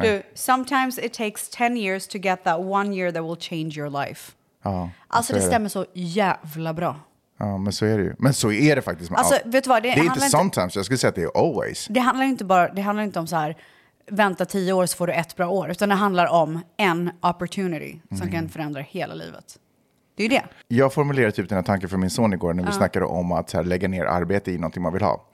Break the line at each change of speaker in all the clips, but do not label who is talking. Du, sometimes it takes 10 years to get that one year that will change your life.
Ja,
Alltså
så
det
är
stämmer så jävla bra.
Ja, men så är det ju. Men så är det faktiskt med
Alltså,
allt.
vet du vad? Det
Det, är inte
handlar inte-
sometimes, jag skulle säga att det är always.
Det handlar inte, bara, det handlar inte om så här, vänta 10 år så får du ett bra år, utan det handlar om en opportunity som
Mm.
kan förändra hela livet. Det är ju det.
Jag formulerade typ den här tanken för min son igår när vi snackade om att så här, lägga ner arbete i någonting man vill ha.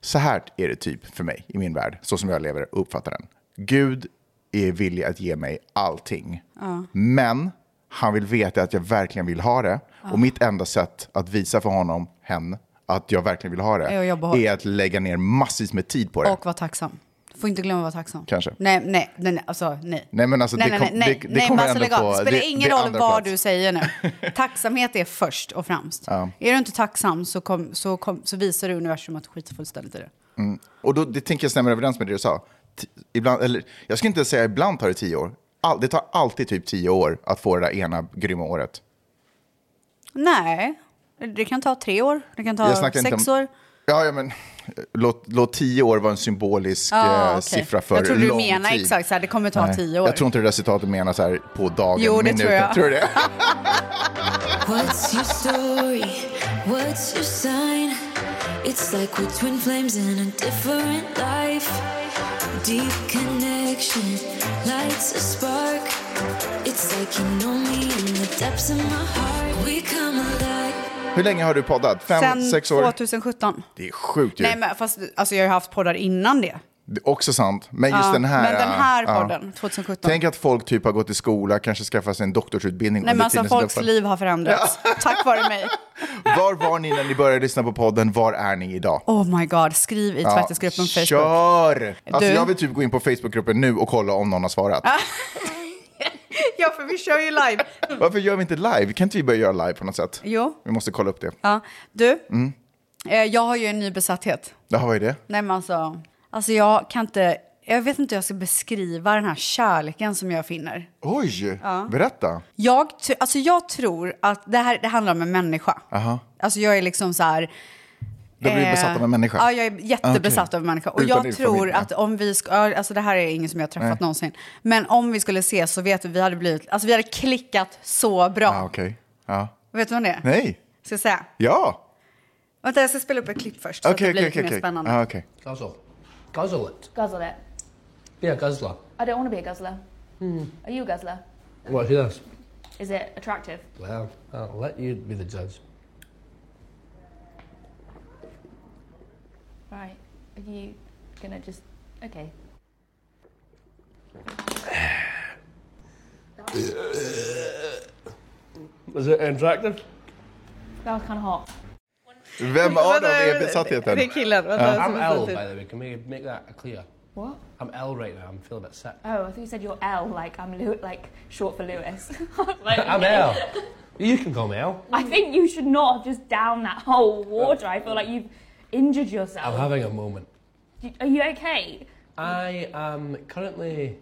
Så här är det typ för mig i min värld, så som jag lever och uppfattar den. Gud är villig att ge mig allting. Men han vill veta att jag verkligen vill ha det. Och mitt enda sätt att visa för honom, hen, att jag verkligen vill ha det
Är att jobba hårt.
är att lägga ner massvis med tid på det.
Och vara tacksam. Får inte glömma att vara tacksam.
Kanske.
Nej, nej, nej, nej, alltså nej.
Nej, men alltså,
nej,
det
nej,
kom-
nej,
det- det
nej,
kommer
men alltså,
ändå
lägg av.
på-
Det spelar
det-
ingen
det är
roll
andra
vad
plats.
du säger nu. Tacksamhet är först och främst. Är du inte tacksam så, kom, så, kom, så visar du universum att du skiter fullständigt i det.
Och då, det tänker jag stämmer överens med det du sa. T- ibland, eller, jag ska inte säga ibland tar det tio år. All, det tar alltid typ tio år att få det där ena grymma året.
Nej, det kan ta tre år, det kan ta
Jag snackar inte
sex
om-
år.
Ja, ja men eh, låt, låt tio år vara en symbolisk eh,
Ja, okej.
siffra för
Jag tror du
lång
menar
tid.
exakt så här, det kommer ta
Nej,
tio år.
Jag tror inte det där citatet menar så här på dagen,
Jo, det
minuten.
tror jag.
du det?
What's your story? What's your sign? It's like we're twin flames in a different life. Deep connection lights a spark. It's like you know me in the depths of my heart. We come alive.
Hur länge har du poddat? Fem,
Sen
sex år?
2017.
Det är sjukt ju.
Nej, men fast alltså, jag har ju haft poddar innan det.
Det är också sant. Men just
Ja,
den här...
men den här
ja.
podden, 2017.
Tänk att folk typ har gått i skola, kanske skaffat sig en doktorsutbildning.
Nej,
under
men alltså
tiden som
folks
de-
liv har förändrats. Tack vare mig.
Var var ni när ni började lyssna på podden? Var är ni idag?
Oh my god, skriv i
Ja,
tvättisgruppen Facebook.
Kör! Alltså
Du? Ah.
jag vill typ gå in på Facebookgruppen nu och kolla om någon har svarat.
Ja, för vi kör ju live.
Varför gör vi inte live? Kan inte vi börja göra live på något sätt?
Jo. Ah.
Vi måste kolla upp det.
Ja, du,
Mm.
eh, jag har ju en ny besatthet.
Ja, vad är det?
Nej, men alltså, alltså jag kan inte... Jag vet inte hur jag ska beskriva den här kärleken som jag finner.
Oj! Berätta.
Jag, tr- alltså jag tror att det här det handlar om en människa. Alltså jag är liksom så här...
Du blir
eh,
besatt av en människa. Ah,
Ja, jag är jättebesatt
Okej.
av en människa. Och
Utan din
jag tror
familj, ja.
att om vi... Sk- ja, alltså det här är ingen som jag har träffat
Nej.
någonsin. Men om vi skulle ses så vet du, vi hade blivit... Alltså vi hade klickat så bra.
Ah, Okej. Ja.
Vet du vad det är?
Nej.
Ska jag säga?
Ja!
Vänta, jag ska spela upp ett klipp först. Så
Okej,
att det
okej,
blir lite
okej.
mer
okej.
spännande.
Ah, okej.
Guzzle. Guzzle it.
Guzzle it.
Be a guzzler.
I don't want to be a guzzler. Are you a guzzler?
Watch this.
Is it attractive?
Well, I'll let you be the judge.
Right. Are you gonna just okay?
Is it interactive?
That was kind of hot.
Vem av dem
Vänta,
är
Det
besattheten?
är killen. Vänta, jag
I'm
ska vänta
ill,
till.
by the way. Can we make that clear?
What?
I'm ill right now. I'm feeling a bit sick.
Oh, I thought you said you're L, like I'm Lew- like short for Lewis. Like,
I'm ill. You can call me ill.
I think you should not have just down that whole water. I feel like you've injured yourself.
I'm having a moment.
You- Are you okay?
I am currently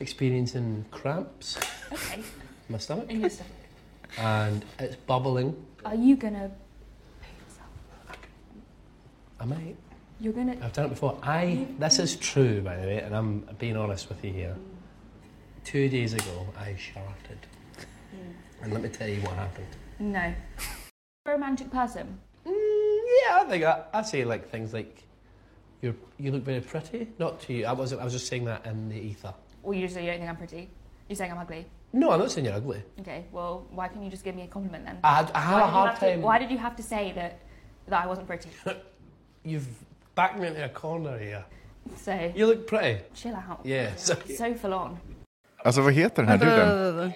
experiencing cramps
Okay.
in my stomach
In your stomach.
and it's bubbling.
Are you gonna? poo yourself?
I might.
You're gonna.
I've done it before. I. This is true, by the way, and I'm being honest with you here. Two days ago, I sharted, and let me tell you what happened.
No. Romantic person.
Mm, Yeah, I think I, I say like things like, "You you look very pretty." Not to you. I wasn't. I was just saying that in the ether.
Or you just say you don't think I'm pretty. You're saying I'm ugly.
No, I'm not saying you're ugly.
Okay. Well, why can't you just give me a compliment then?
I, had- I had a
Why did you
hard
have to-
time.
why did you have to say that that I wasn't pretty?
You've backed me into a corner here.
So
You look pretty.
chill out.
Yeah. So,
So full on.
Alltså vad heter den här duden?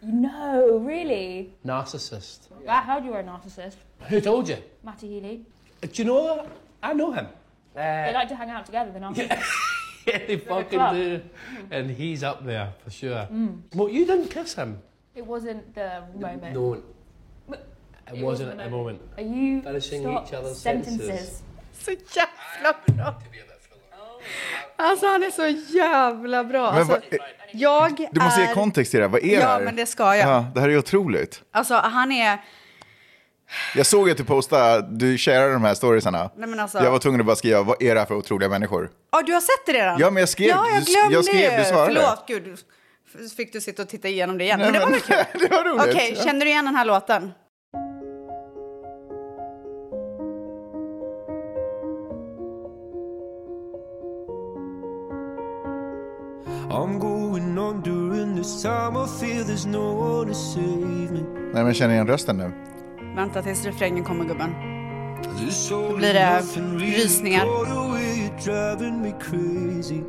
No, really.
narcissist.
I heard you were a narcissist,
Who told you?
Matty Healy.
Do you know that? I know him.
They like to hang out together, the narcissists.
Yeah, they fucking
club. Mm.
do. And he's up there for sure. Well, you didn't kiss him.
It wasn't the moment.
Don't. It,
It
wasn't at the moment.
Are you
Finishing
stop
each other's
sentences?
sentences.
Så jävla bra. Alltså han är så jävla bra.
Men
Alltså,
vad-
jag
Du måste
är...
ge kontext till det här. Vad är det
Ja,
här?
men det ska jag.
Ja, det här är otroligt.
Alltså han är...
Jag såg att du postade, du sharade de här storiesarna.
Nej, men alltså-
Jag var tvungen att bara skriva, vad är det här för otroliga människor?
Ja, du har sett det redan?
Ja, men jag skrev-
Ja, jag
du-
glömde
jag skrev,
ju.
du svarade.
Förlåt, gud. F- Fick du sitta och titta igenom det igen?
Nej,
men det var
men-
väl kul?
det var roligt.
Okej, känner du igen den här låten?
I'm going on during this time. I feel there's no one to save me.
Nej, men känner igen rösten nu.
Vänta tills refrängen kommer, gubben.
This all
blir det
or nothing really
rysningar.
got away, you're driving me crazy.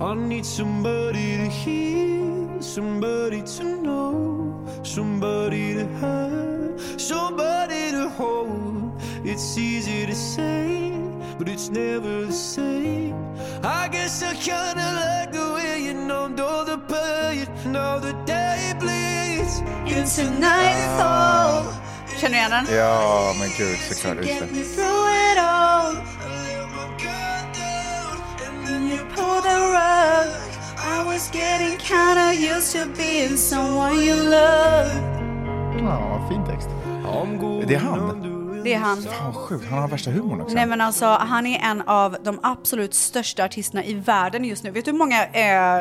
I need somebody to hear, somebody to know, somebody to have, somebody to hold. It's easy to say, but it's never the same. I guess I kinda like the way you numbed all the pain. Now the day bleeds into nightfall.
Känner du igen den?
Ja, men gud, såklart. Just det. Ja, vad fin text. Det är han.
Det är han.
Fan, vad sjukt. Han har värsta humorn också.
Nej men alltså, han är en av de absolut största artisterna i världen just nu. Vet du hur många eh,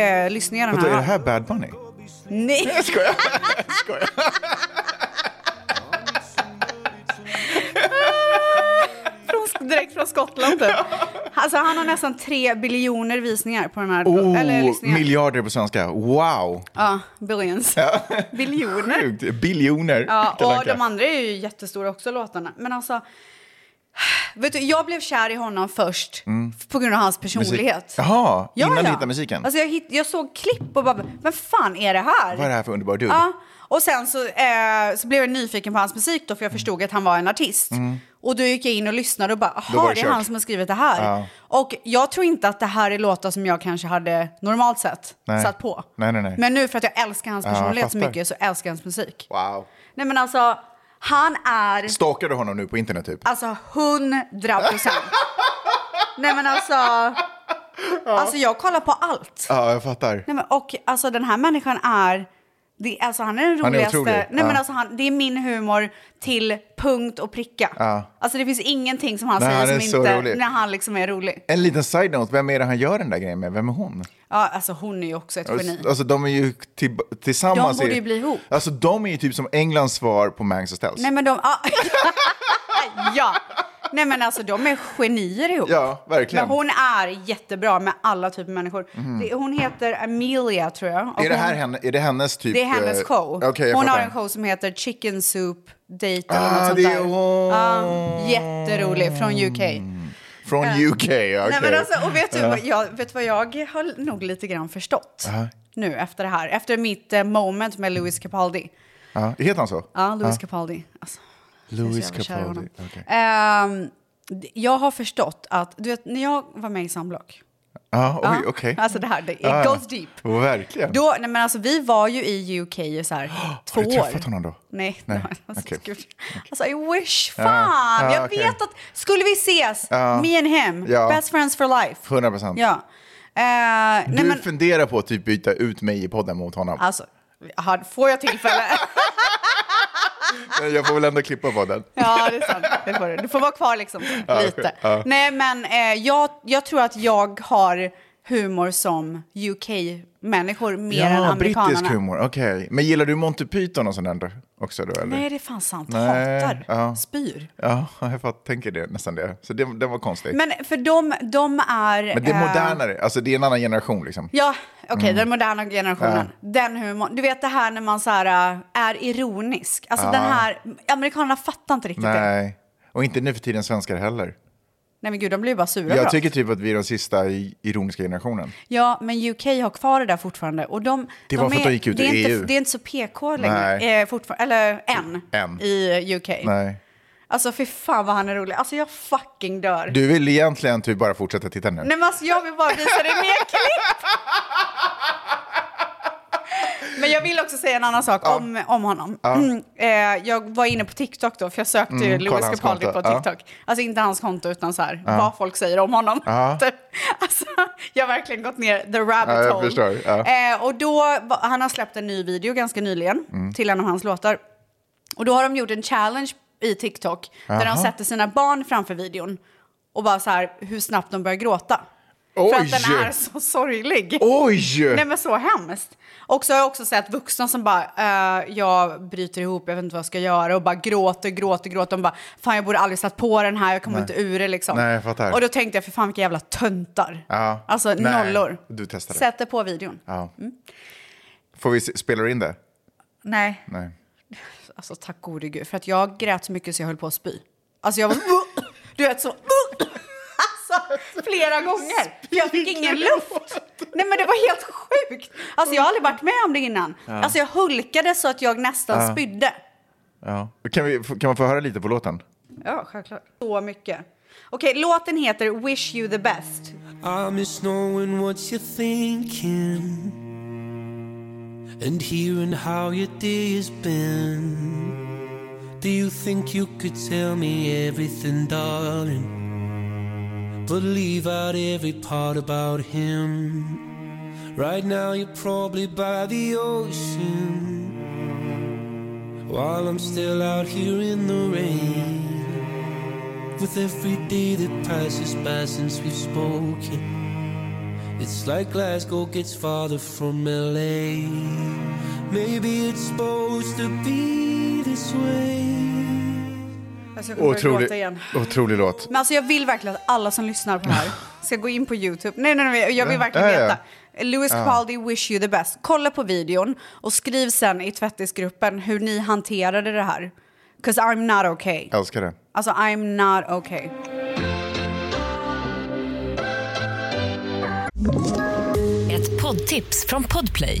eh, lyssningar han
Vadå,
har?
är det här Bad Bunny?
Nej! Jag skojar. skojar. från, direkt från Skottland typ. Alltså han har nästan tre biljoner visningar på den här. eller
Oh,
lyssningar.
miljarder på svenska. Wow!
ja, billions. Biljoner.
Sjukt. Biljoner.
Ja,
Kalle
och
Anka.
de andra är ju jättestora också, låtarna. Men alltså, vet du, jag blev kär i honom först på grund av hans personlighet.
Mm. Jaha, innan du hittade musiken?
Alltså jag, hitt, jag såg klipp och bara, vem fan är det här?
Vad är det här för underbar dude?
Ja, och sen så, eh, så blev jag nyfiken på hans musik då, för jag förstod att han var en artist. Och då gick jag in och lyssnade och bara,
Mm. Då var
aha,
det
det är
kört."
han som har skrivit det här.
Ja.
Och jag tror inte att det här är låtar som jag kanske hade normalt sett
Nej.
satt på.
Nej, nej, nej.
Men nu för att jag älskar hans
Ja, jag
personlighet så
fattar.
mycket så älskar jag hans musik.
Wow.
Nej men alltså, han är
Stalkar du honom nu på internet typ?
alltså hundra procent. Nej men alltså, alltså jag kollar på allt.
Ja, jag fattar.
Nej men och alltså den här människan är, det, alltså han är den
Han är
roligaste.
otrolig.
Nej men
Ja.
alltså han, det är min humor till punkt och pricka.
Ja.
Alltså det finns ingenting som han
Nej, han
säger
är så
som inte,
rolig.
när han liksom är rolig.
En liten side-note, vem är det han gör den där grejen med? Vem är hon?
Ja alltså hon är ju också ett geni.
Alltså de är ju till, tillsammans.
De borde
i-
ju bli ihop.
Alltså de är ju typ som Englands svar på Mangs och Stells.
Nej men de, ah, ja. Nej men alltså de är genier ihop.
Ja, verkligen. Mhm.
Men hon är jättebra med alla typer av människor. Det, hon heter Amelia tror jag. Och
är, det här
hon,
henne, är det hennes typ?
det är hennes
eh,
show.
Okej, jag
hon har
fattar.
en show som heter Chicken Soup Date eller något
Ah,
sånt
det
där.
är hon.
Ja, jätterolig från UK.
Från UK, okej.
Nej, men alltså, och vet du, vad jag, vet du vad jag har nog lite grann förstått nu efter det här? Efter mitt eh, moment med Louis Capaldi.
Ja, heter han så?
Ja, Louis Capaldi. Alltså,
Louis
jag är så jävla kär i
Capaldi.
honom.
okej.
Ehm, d- jag har förstått att, du vet när jag var med i Sunblock,
Ja, oj,
Ja.
okej. Ah.
Alltså, det här, det- it
Ja, ja.
goes deep.
Verkligen.
då, nej men alltså vi var ju i UK i så här två
du
år.
träffat honom då?
Nej.
Nej,
nej, Alltså,
okej.
gud. alltså I wish, fan!
ja,
jag
okej.
vet att, skulle vi ses,
Ja.
me and him,
Ja.
best friends for life.
100 procent.
Ja. Eh,
Du
nej, men,
funderar på att typ byta ut mig i podden mot honom.
alltså, har- får jag tillfälle? Alltså-
Jag får väl ändå klippa podden.
ja, det är sant. Det får du. du får vara kvar liksom, lite.
okej. Ja.
Nej, men eh, jag, jag tror att jag har humor som UK-människor mer än
Ja,
amerikanerna.
brittisk humor. Okej. Men gillar du Monty Python och sånt där också då? Eller?
Nej, det är fan sant.
Nej,
Hatar.
ja.
Spyr.
Ja, jag fatt, tänker det, nästan det. Så det, den var konstig. Men,
Men för de, de är...
det är
eh,
modernare, alltså det är en annan generation liksom.
Ja, okej, den moderna generationen. Den humorn. Du vet det här när man så här, äh, är ironisk. Alltså den här, amerikanerna fattar inte riktigt det.
Nej, och inte nu för tiden svenskar heller.
Nej men gud, de blir ju bara sura
Jag
då.
tycker typ att vi är den sista i- ironiska generationen.
Ja, men UK har kvar det där fortfarande. Och de,
Det var
de
för att de gick ut
det är
ur
inte,
EU.
Det är inte så PK längre.
Nej.
Eh, fortfar- eller än,
Än.
i UK.
Nej.
Alltså fy fan vad han är rolig. Alltså jag fucking dör.
Du vill egentligen typ bara fortsätta titta nu?
Nej men alltså jag vill bara visa dig mer klipp. Men jag vill också säga en annan sak om, om honom. Mm, eh, jag var inne på TikTok då, för jag sökte ju Louis
Mm, kolla hans
Capaldi på
konto.
TikTok. Alltså inte hans konto, utan så här, vad folk säger om honom. Typ. Alltså, jag har verkligen gått ner the rabbit
Ja, jag
hole.
förstår. Ja. Mm.
Eh, och då, va- han har släppt en ny video ganska nyligen till en av hans låtar. Och då har de gjort en challenge i TikTok där de
Jaha.
sätter sina barn framför videon och bara så här hur snabbt de börjar gråta. För att den
Oj!
är så sorglig.
Oj!
Nej men så hemskt. Och så har jag också sett vuxna som bara, eh, jag bryter ihop, jag vet inte vad jag ska göra och bara gråter, gråter, gråter. De bara, fan jag borde aldrig satt på den här, jag kommer inte ur det liksom.
Nej, jag fattar.
Och då tänkte jag, för fan vilka jävla töntar.
Ja.
Alltså
Nej,
nollor.
du testade.
Sätter på videon.
Ja. Får vi se- spela in det?
Nej,
Nej.
alltså tack gode gud. För att jag grät så mycket så jag höll på att spy. Alltså jag var, du vet så, alltså flera gånger. För jag fick ingen luft. Nej men det var helt sjukt. Alltså jag har aldrig varit med om det innan. Alltså jag hulkade så att jag nästan spydde.
Ja. Kan, vi, kan man få höra lite på låten?
Ja, självklart. Så mycket. Okej, låten heter Wish You The Best.
I miss knowing what you're thinking and hearing how your day has been. Do you think you could tell me everything, darling? But leave out every part about him. Right now, you're probably by the ocean. While I'm still out here in the rain. With every day that passes by since we've spoken, it's like Glasgow gets farther from LA. Maybe it's supposed to be this way.
Alltså jag kommer börja
Otrolig,
gråta igen.
otrolig låt.
Men alltså jag vill verkligen att alla som lyssnar på det här ska gå in på YouTube. Nej, nej, nej, jag vill verkligen
Ja, ja, ja.
veta. Lewis Capaldi, Wish You The Best. Kolla på videon och skriv sen i tvättisgruppen hur ni hanterade det här. 'Cause I'm not okay.
Älskar det.
Alltså, I'm not okay.
Ett poddtips från Podplay.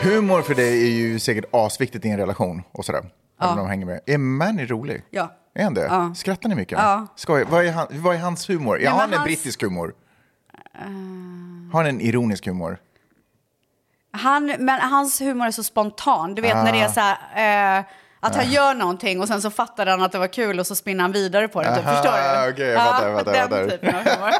Humor för dig är ju säkert asviktigt i en relation och sådär. Ja. De hänger med. Är Manny rolig?
Ja.
Är han det?
Ja.
Skrattar ni mycket?
Ja.
Skoj. Vad, är han, vad är hans humor? Ja,
men
har han en
hans-
brittisk humor? Har han en ironisk humor?
Han, men hans humor är så spontan. Du vet när
Ah.
det är så här... Eh, att han gör någonting och sen så fattade han att det var kul och så spinner han vidare på det. Typ.
Aha,
Förstår du?
okej, jag fattar, jag
Ja,
fattar, jag
Den
fattar.
typen av humor.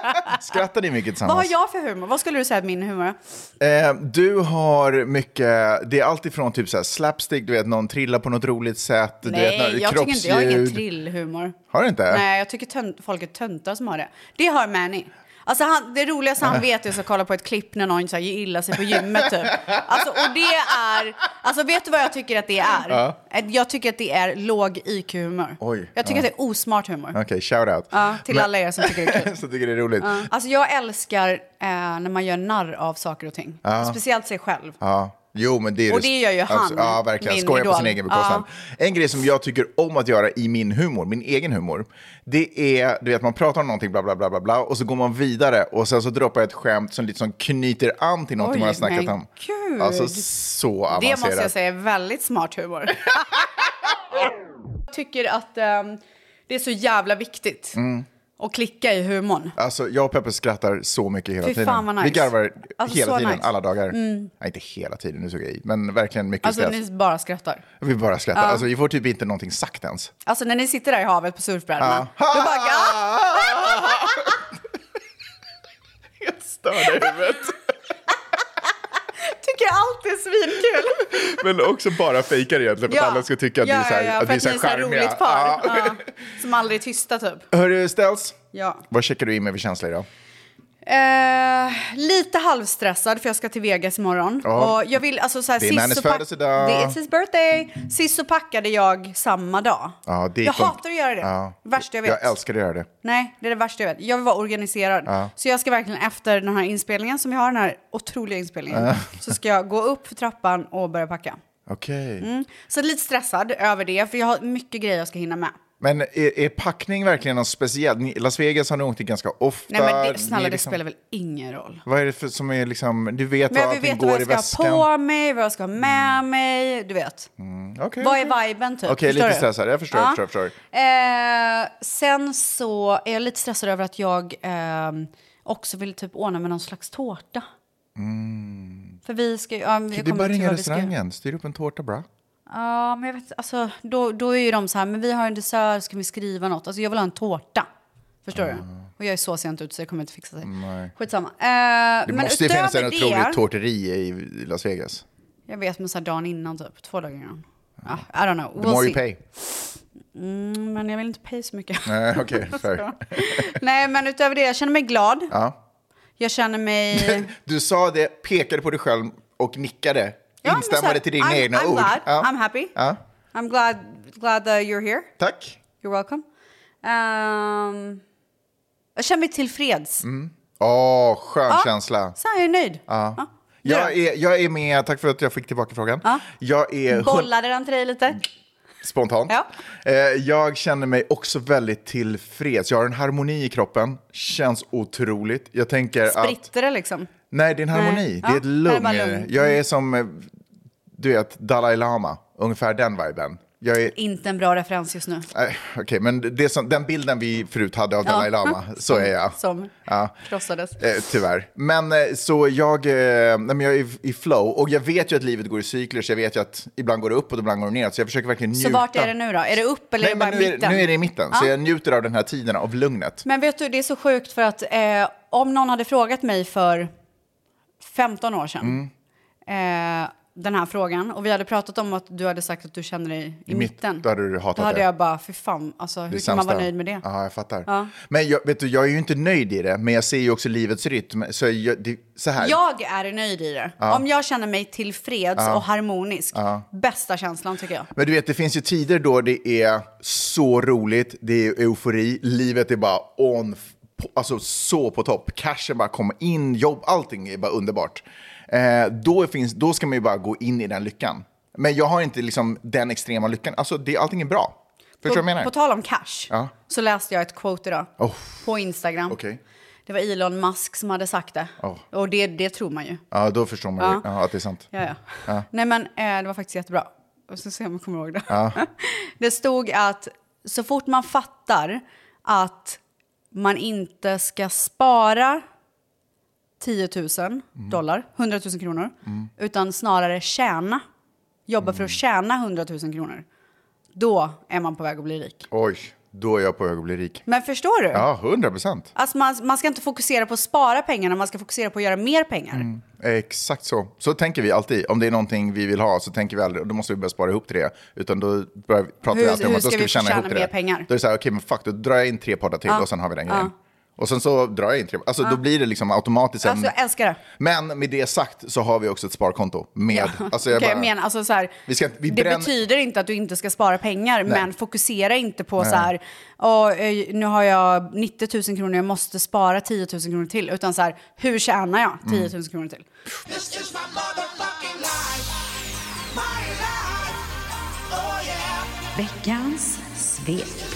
Skrattar ni mycket
Vad
tillsammans?
har jag för humor? Vad skulle du säga att min humor är?
Eh, du har mycket, det är alltifrån typ så här slapstick, du vet någon trillar på något roligt sätt, du vet
Nej,
när-
jag, tycker inte, jag har ingen
kroppsljud.
trillhumor.
Har du inte?
Nej, jag tycker tönt, folk är töntar som har det. Det har Manny. Alltså han, det roligaste han vet är att kolla på ett klipp när någon så här, gör illa sig på gymmet typ. Alltså, och det är, alltså vet du vad jag tycker att det är? Jag tycker att det är låg IQ-humor.
Oj,
jag tycker
ja.
att det är osmart humor.
Okej, shout out.
Ja, till alla er som tycker det är kul.
som tycker det är roligt.
Alltså jag älskar eh, när man gör narr av saker och ting. Speciellt sig själv.
Ja. Jo, men det är
Och det gör ju han,
Absolut. Ja, verkligen.
min
Skoja på
idol.
sin egen bekostnad. En grej som jag tycker om att göra i min humor, min egen humor, det är, du vet, man pratar om någonting, bla, bla, bla, bla, bla, och så går man vidare och sen så droppar jag ett skämt som liksom knyter an till någonting
Oj,
man har snackat
men
om.
gud.
Alltså, så
Det
avancerat.
måste jag säga är väldigt smart humor. jag tycker att ehm, det är så jävla viktigt
Mm.
att klicka i humorn.
Alltså, jag och Peppe skrattar så mycket hela
Fy
tiden.
fan vad nice.
Vi garvar
Alltså,
hela
så
tiden,
nice. Mm.
alla dagar. Nej, inte hela tiden, nu såg jag i. Men verkligen mycket
Alltså
skratt.
ni bara skrattar.
Vi bara skrattar. Alltså, vi får typ inte någonting sagt ens.
Alltså när ni sitter där i havet på surfbrädorna.
Ja.
Då bara, "Ah!"
Helt störd i huvudet.
tycker allt är svinkul.
Men också bara fejkar egentligen för att alla ska tycka att vi är så här, att
för
vi är
att
så
ni
här
är så här
charmiga.
roligt par.
Ja.
Ja. Som aldrig är tysta typ.
Hörru, Stels.
Ja.
Vad checkar du in med för känsla idag?
Eh, lite halvstressad för jag ska till Vegas imorgon.
Ja.
Och jag vill, alltså, så här,
Det är
sist
Mannys
så pack-
födelsedag.
Det är it's his birthday. Sist så packade jag samma dag.
Ja, det
jag
kom-
hatar att göra det.
Ja.
Värsta jag vet.
Jag älskar att göra det.
Nej, det är det värsta jag vet. Jag vill vara organiserad. Så jag ska verkligen efter den här inspelningen som jag har, den här otroliga inspelningen, så ska jag gå upp för trappan och börja packa.
Okej.
Mm. Så lite stressad över det, för jag har mycket grejer jag ska hinna med.
Men är, är packning verkligen något speciellt? Ni- Las Vegas har ni åkt till ganska ofta.
Nej, men
Ni
det, snälla,
är
det
liksom-
spelar väl ingen roll?
Vad är det för, som är liksom, du vet
Men
vad
jag vill
allting
veta
går
vad
i
jag ska
väskan?
ha på mig, vad jag ska ha med mig, du vet.
Okej,
Vad
okej.
är viben typ?
Okej,
Förstår
lite
du?
stressad. Jag förstår,
Ja.
jag förstår, jag förstår.
Eh, sen så är jag lite stressad över att jag ehm, också vill typ ordna med någon slags tårta. För vi ska ju... Ja, vi
Mm. Det är
kommer
bara
till
ringa
vad vi ska göra.
restaurangen, styr upp en tårta bra.
Ja, men jag vet alltså, då, då är ju de så här, men vi har en dessert, ska vi skriva något? Alltså jag vill ha en tårta. Förstår du? Och jag är så sent ute så jag kommer inte fixa det.
Mm. Nej.
Skitsamma. Eh,
Det
men
måste ju finnas en
utöver det-
otrolig tårteri i Las Vegas.
Jag vet, men så här dagen innan typ, två dagar innan. Ja, I don't know.
The more
We'll see.
you pay.
Mm, men jag vill inte pay så mycket.
Nej, Eh, okej. fair.
Nej, men utöver det, jag känner mig glad.
ja.
Jag känner mig...
Du sa det, pekade på dig själv och nickade.
Ja, men så
Instämmade
här,
till dina
I'm,
egna
I'm
ord.
Glad.
Ja.
I'm happy.
Ja.
I'm glad, glad that you're here.
Tack.
You're welcome. Ehm, jag känner mig tillfreds.
Åh, skön
Ja.
känsla.
Så här, jag är nöjd.
Mm. Ja.
Du då?
Jag, är, jag är med, tack för att jag fick tillbaka frågan.
Ja.
Jag är hund-
Bollade den till dig lite?
spontant.
Ja.
Eh, jag känner mig också väldigt tillfreds. Jag har en harmoni i kroppen, känns otroligt. Jag tänker att...
Spritter det liksom?
Nej, det är en
Nej.
harmoni. Det är
Ja,
ett
det är
lugn.
bara lugn. Mm.
Jag är som, eh, du vet, Dalai Lama. Ungefär den viben. Jag är...
Inte en bra referens just nu.
Nej, Okej, men det som, den bilden vi förut hade av Dalai Lama, så är jag.
Som
Ja.
krossades.
Eh, tyvärr. Men eh, så jag, eh, nej, men jag är i, i flow och jag vet ju att livet går i cykler så jag vet ju att ibland går det uppåt och ibland går det neråt. Så jag försöker verkligen njuta.
Så vart är det nu då? Är det upp eller
Nej,
är det bara
men nu,
i
är,
mitten?
nu är det i mitten. Så
Ja.
jag njuter av den här tiden, av lugnet.
Men vet du, det är så sjukt för att eh, om någon hade frågat mig för 15 år sedan eh, den här frågan och vi hade pratat om att du hade sagt att du känner dig i,
mitt-
mitten.
då hade du hatat
Då hade
det.
jag bara, fy fan, alltså, hur
Det
kan
sämsta. Ah,
man vara nöjd med det?
Ja, jag fattar.
Ja.
Men jag, vet du, jag är ju inte nöjd i det, men jag ser ju också livets rytm. Så, jag, det, så här.
Jag är nöjd i det. Om jag känner mig tillfreds och harmonisk, bästa känslan tycker jag.
Men du vet, det finns ju tider då det är så roligt, det är eufori, livet är bara on, f- på- alltså så på topp. Cashen bara kommer in, jobb, allting är bara underbart. Eh, då, finns, då ska man ju bara gå in i den lyckan. Men jag har inte liksom den extrema lyckan, alltså det, allting är bra. Förstår du vad jag menar?
På tal om cash
Ja.
så läste jag ett quote idag
Oh.
på Instagram.
Okej.
Det var Elon Musk som hade sagt det.
Oh.
Och det, det tror man ju.
Ja, då förstår man ju
Ja.
ja, att det är sant.
Ja, ja. Nej, men eh, det var faktiskt jättebra. Jag ska se om jag kommer ihåg det. Det stod att så fort man fattar att man inte ska spara 10 000 dollar, 100 000 kronor, utan snarare tjäna, jobba för att tjäna 100 000 kronor, då är man på väg att bli rik.
Oj, då är jag på väg att bli rik.
Men förstår du?
Ja, 100 procent.
Alltså man, man ska inte fokusera på att spara pengarna, man ska fokusera på att göra mer pengar.
Exakt så. Så tänker vi alltid. Om det är någonting vi vill ha så tänker vi aldrig, då måste vi börja spara ihop till det. Utan då börjar, vi- pratar vi
Hur-
alltid om
hur
att då
ska
ska vi
vi
tjäna
tjäna
ihop till
mer
det.
pengar?
Då är det så här, okej men fuck, då drar jag in tre poddar till och sen har vi den grejen. Och sen så drar jag in tre, alltså då blir det liksom automatiskt en...
Alltså jag älskar det.
Men med det sagt så har vi också ett sparkonto med... Alltså jag
Okej,
bara,
jag menar, alltså så här,
Vi ska inte- vi
det
bränn-
betyder inte att du inte ska spara pengar, men fokusera inte på så här, "Åh, eh, nu har jag 90 000 kronor, jag måste spara 10 000 kronor till, utan så här, hur tjänar jag
Mm.
10 000 kronor till?
This is my motherfucking life. My life. Oh yeah.
Veckans svep.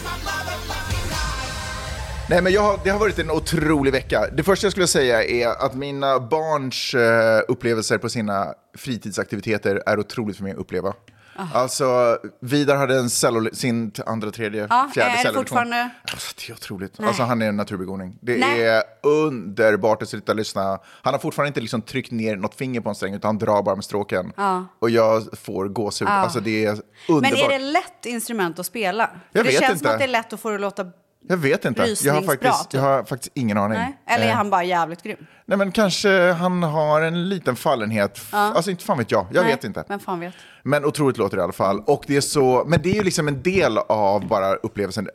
Nej, men jag har, det har varit en otrolig vecka. Det första jag skulle säga är att mina barns eh, upplevelser på sina fritidsaktiviteter är otroligt för mig att uppleva.
Ah.
Alltså, Vidar hade en cello, sin t- andra, tredje,
Ja,
fjärde
Ah, är det
cellolektion.
fortfarande-
Alltså, det är otroligt. Alltså, han är en naturbegåvning. Det
Nej.
är underbart att sitta och lyssna. Han har fortfarande inte liksom tryckt ner något finger på en sträng, utan han drar bara med stråken. Och jag får gåshud. Alltså, det är underbart.
Ah. Men är det lätt instrument att spela? För
Jag
det
vet
känns
inte.
som att det är lätt att få det att låta...
Jag vet inte. Jag har,
Rysningsbra,
faktiskt,
typ.
jag har faktiskt ingen aning.
Nej? Eller är
Eh.
han bara jävligt grym?
Nej men kanske han har en liten fallenhet. Alltså inte fan vet jag, jag
Nej,
vet inte. Men...
Vem fan vet?
otroligt låter det i alla fall. Och det är så, men det är ju liksom en del av bara upplevelsen.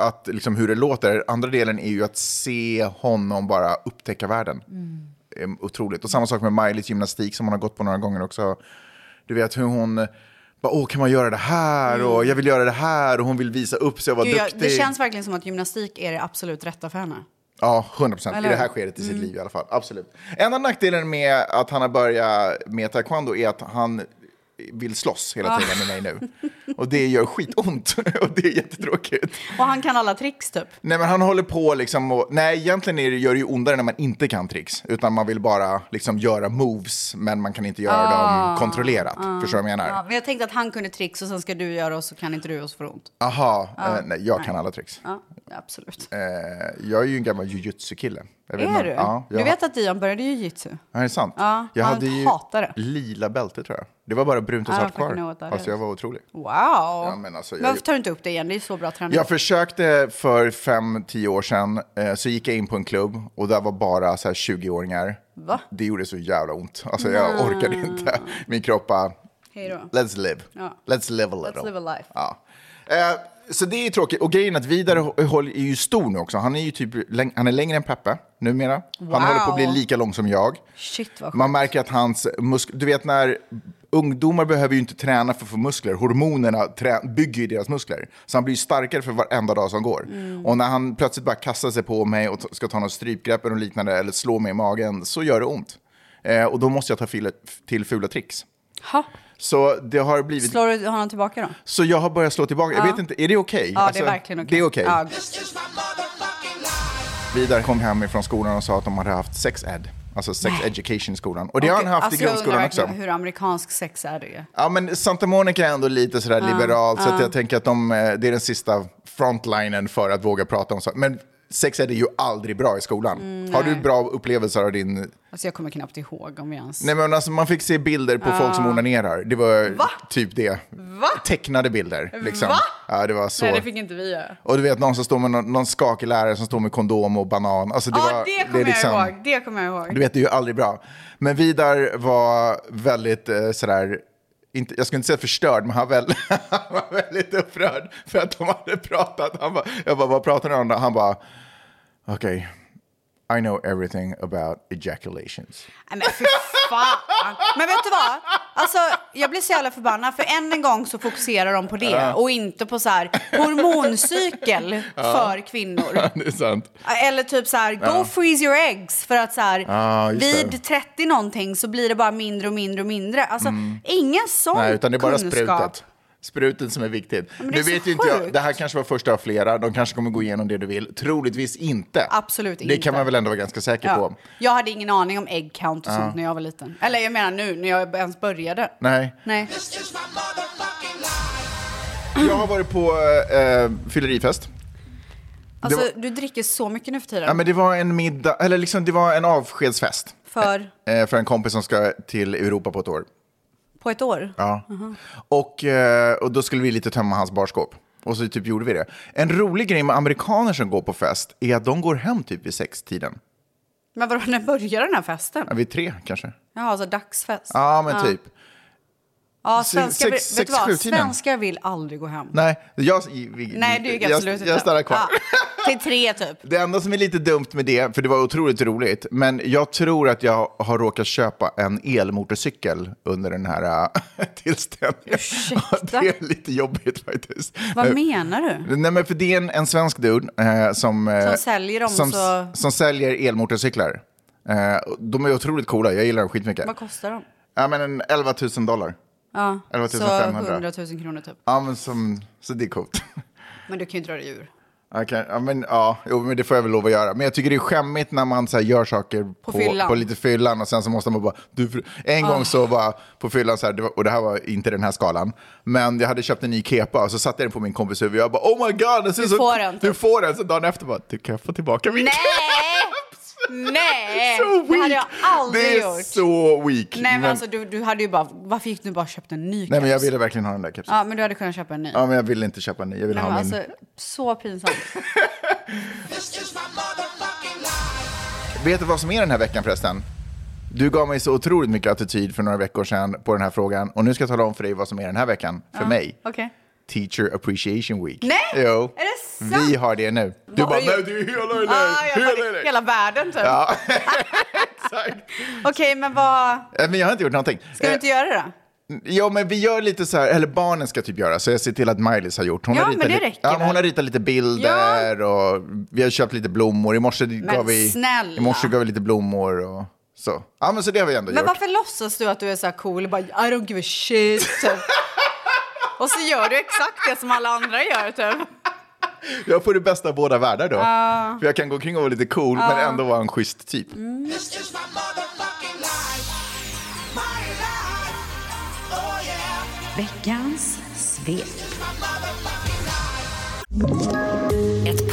Att liksom hur det låter. Andra delen är ju att se honom bara upptäcka världen. Mm. Otroligt. Och samma sak med Miley's gymnastik som hon har gått på några gånger också. Du vet hur hon bara, åh kan man göra det här? Och jag vill göra det här. Och hon vill visa upp sig och vara
Mm. Gud, jag,
duktig.
det känns verkligen som att gymnastik är det absolut rätta för henne.
Ja, 100 procent. I
Eller
det här
hur? Mm.
skedet i sitt liv i alla fall. Absolut. En av nackdelen med att han har börjat med taekwondo är att han vill slåss
Ah.
hela tiden med mig nu. Och det gör skitont och det är jättetråkigt.
Och han kan alla tricks typ.
Nej, men han håller på liksom och... Nej, egentligen är det, gör det ju ondare när man inte kan tricks. Utan man vill bara liksom göra moves, men man kan inte göra
Ah.
dem kontrollerat. Förstår du vad jag
Ja,
menar?
men jag tänkte att han kunde tricks och sen ska du göra och så kan inte du och så får du ont.
Aha,
Ah.
eh, nej, jag kan alla tricks.
Ja, absolut.
Eh, jag är ju en gammal jujutsu-kille. Jag vet
Är
inte-
du?
Ja, jag,
Du vet att Dion började jujutsu?
Ja, är det sant?
Ja,
jag
han
hade ju
hatar det.
lila bälte tror jag. Det var bara brunt och
I don't
svart
fucking know
kvar.
what that
Alltså jag
is. Mm.
var otrolig.
Wow!
men alltså, jag-
Varför tar du inte upp det igen? Det är ju så bra träning.
Jag försökte för fem, tio år sedan, eh, så gick jag in på en klubb och där var bara så här 20-åringar.
Va?
Det gjorde så jävla ont. Alltså jag orkade inte. Min kropp bara,
Hej då.
let's live.
Ja.
Let's live a little.
Let's live a life.
Ja. Eh, så det är tråkigt. Och grejen är att Vidar Håll är ju stor nu också. Han är ju typ, läng- han är längre än Peppe numera. Han håller på att bli lika lång som jag.
Shit vad sjukt.
Man märker att hans muskler, du vet när ungdomar behöver ju inte träna för att få muskler, hormonerna trä- bygger ju deras muskler. Så han blir ju starkare för varenda dag som går.
Mm.
Och när han plötsligt bara kastar sig på mig och t- ska ta något strypgrepp eller liknande eller slå mig i magen så gör det ont. Eh, och då måste jag ta fila- till fula tricks.
Ha.
Så det har blivit...
Slår du honom tillbaka då?
Så jag har börjat slå tillbaka. Jag vet inte, är det okej?
Ja, det är verkligen okej.
Alltså, Det är okej.
Ja.
Vidar kom hem från skolan och sa att de hade haft sex ed. Alltså sex education i skolan. Och det har han haft
Alltså,
i
jag undrar
grundskolan också.
verkligen hur amerikansk sex är det?
Ja, men Santa Monica är ändå lite sådär liberalt, så att jag tänker att de, eh, det är den sista frontlinen för att våga prata om saker. Men sex är det ju aldrig bra i skolan.
Mm,
Har du bra upplevelser av din...
Alltså jag kommer knappt ihåg om vi ens...
Nej, men alltså, man fick se bilder på folk som onanerar. Det var typ det. Tecknade bilder. Liksom.
Va?
Ja, det var så.
Nej, det fick inte vi göra.
Och du vet någon som står med någon, någon skakig lärare som står med kondom och banan. Alltså, det
Ja,
var,
det
det
kommer
är liksom,
jag ihåg. Det kommer jag ihåg.
Du vet, det är ju aldrig bra. Men Vidar var väldigt eh, sådär, inte, jag skulle inte säga förstörd, men han, väl, han var väldigt upprörd för att de hade pratat. Han bara, jag bara, vad pratar ni om? då?" Han bara, okej, I know everything about ejaculations.
Nej men fy fan. Men vet du vad? Alltså jag blir så jävla förbannad för än en gång så fokuserar de på det och inte på så här hormoncykel för kvinnor.
det är sant.
Eller typ så här, go freeze your eggs för att så här,
Ja, just det.
vid 30 någonting så blir det bara mindre och mindre och mindre. Alltså ingen sån
Mm. Nej, utan det är bara
kunskap.
sprutet. Sprutet som är viktigt.
men det
nu
är så
vet ju inte jag,
sjukt.
det här kanske var första av flera, de kanske kommer gå igenom det du vill. Troligtvis inte.
Absolut
det
inte.
Det kan man väl ändå vara ganska säker
Ja.
på.
Jag hade ingen aning om egg count och sånt när jag var liten. Eller jag menar nu när jag ens började.
Nej.
Nej.
Jag har varit på eh, fyllerifest.
Alltså
Det
du dricker så mycket nu för tiden.
Ja, men det var en middag, eller liksom det var en avskedsfest.
För
Eh, för en kompis som ska till Europa på ett år.
på ett år.
Ja. Och, eh, och då skulle vi lite tömma hans barskåp. Och så typ gjorde vi det. En rolig grej med amerikaner som går på fest är att de går hem typ vid sextiden.
Men vadå, när börjar den här festen?
Ja, vid tre kanske.
Jaha, alltså dagsfest. Ja,
Ja, men typ. se-
svenskar, vill-
sex-
vet
sex,
du vad?
sjutiden.
svenskar vill aldrig gå hem.
Nej, jag, vi,
Nej, det gick
jag,
absolut
jag,
inte.
stannar kvar.
Ja, till tre typ.
Det enda som är lite dumt med det, för det var otroligt roligt, men jag tror att jag har råkat köpa en elmotorcykel under den här äh, tillställningen.
Ursäkta?
Det är lite jobbigt faktiskt.
Vad
Eh,
menar du?
Nej, men för det är en, en svensk dude eh, som, eh,
Som säljer dem,
som,
så-
som säljer elmotorcyklar. Eh, och de är otroligt coola, jag gillar dem skitmycket.
Vad kostar de?
Ja, men en 11 000 dollar.
Ja,
11
så
500.
100 000 kronor typ.
Ja, men som, så det är coolt.
Men du kan ju inte dra dig ur.
Ja, kan- ja, men, ja, jo, men det får jag väl lov att göra. Men jag tycker det är skämmigt när man så här, gör saker på,
fyllan. Ah.
på lite fyllan och sen så måste man bara... Du, fr- en gång så var på fyllan, så här, det var, och det här var inte den här skalan, men jag hade köpt en ny kepa och så satte jag den på min kompis huvud och jag bara oh my god, den ser
Du
så,
får den, typ.
Du får den! Så dagen efter bara, du kan jag få tillbaka min
Nej!
keps?
Nej!
Så
det hade jag
weak.
aldrig
Det är
gjort.
så weak.
Nej men, alltså du, du hade ju bara, varför gick du bara och köpte en ny
Nej, men jag
keps?
ville verkligen ha den där kepsen.
Ja men du hade kunnat köpa en ny.
Ja, men jag ville inte köpa en ny, jag ville
Nej,
ha
men
min.
alltså, så pinsamt.
Vet du vad som är den här veckan förresten? Du gav mig så otroligt mycket attityd för några veckor sedan på den här frågan. Och nu ska jag tala om för dig vad som är den här veckan för mig.
Okej.
Teacher Appreciation Week.
Nej!
Jo.
Är det sant?
Vi har det nu. Du
Vad
bara,
har du
nej
gjort?"
du är hela
Ah, jag
dig.
bara, hela världen typ.
Ja, exakt.
Okej men vad,
Eh, Men jag har inte gjort någonting. Eh,
ska du inte göra det då?
Ja, men vi gör lite så här, eller barnen ska typ göra, så jag ser till att Miley har gjort. Hon
Ja,
har
men
ritat
det
li-
räcker
ja,
väl?
Hon har ritat lite bilder och vi har köpt lite blommor. I morse gav vi,
snälla.
i morse gav vi lite blommor och Så, ja, men så det har vi ändå
Men
gjort.
varför låtsas du att du är så här cool och bara I don't give a shit typ. Och så gör du exakt det som alla andra gör typ.
Jag får det bästa av båda världar då. För jag kan gå omkring och vara lite cool men ändå vara en schysst typ.
Mm.
Veckans svep. Ett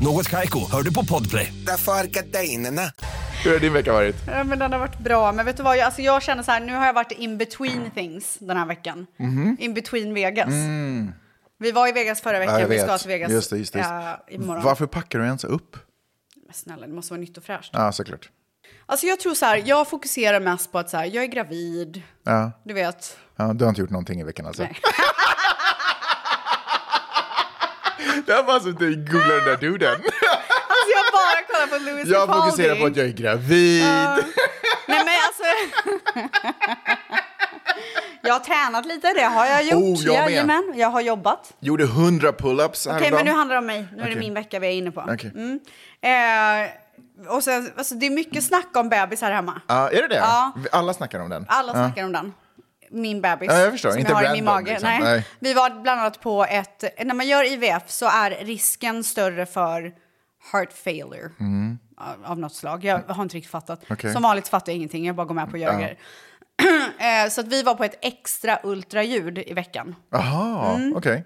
Något Kaiko, hör du på Podplay.
Därför är gardinerna.
Hur har din vecka varit?
Ja, men den har varit bra. Men vet du vad, jag, alltså, jag känner så här, nu har jag varit in between things den här veckan.
Mhm.
In between Vegas.
Mm.
Vi var i Vegas förra veckan, vi ska till Vegas
Just det, just det. Just. det.
Ja, imorgon.
Varför packar du ens upp?
Men Snälla, det måste vara nytt och fräscht.
Ja, såklart.
Alltså jag tror så här, jag fokuserar mest på att så här, jag är gravid,
Ja.
du vet.
Ja, du har inte gjort någonting i veckan alltså?
Nej.
Jag har bara suttit och googlat den där duden.
Alltså jag bara kollar på Louis
Jag
Capaldi.
fokuserar på att jag är gravid.
Nej men alltså. jag har tränat lite, det har jag gjort.
Oh, jag med.
Jajamän, jag har jobbat.
Gjorde hundra pull-ups
Okej,
häromdagen.
men nu handlar det om mig. Nu är det
Okej.
min vecka vi är inne på.
Okej.
Mm. Eh, och sen, alltså, det är mycket snack om bebis här hemma.
Ja, är det det?
Ja.
Alla snackar om den.
Alla snackar om den. Min bebis.
Ah. Ja, jag förstår.
Som
Inte
jag har i min
random,
mage.
liksom.
Nej.
Nej.
Vi var bland annat på ett... När man gör IVF så är risken större för heart failure. Av- Av något slag. Jag har inte riktigt fattat.
Mm. Okej.
Som vanligt fattar jag ingenting. Jag bara går med på Jörger. Eh, så att vi var på ett extra ultraljud i veckan.
Jaha, okej.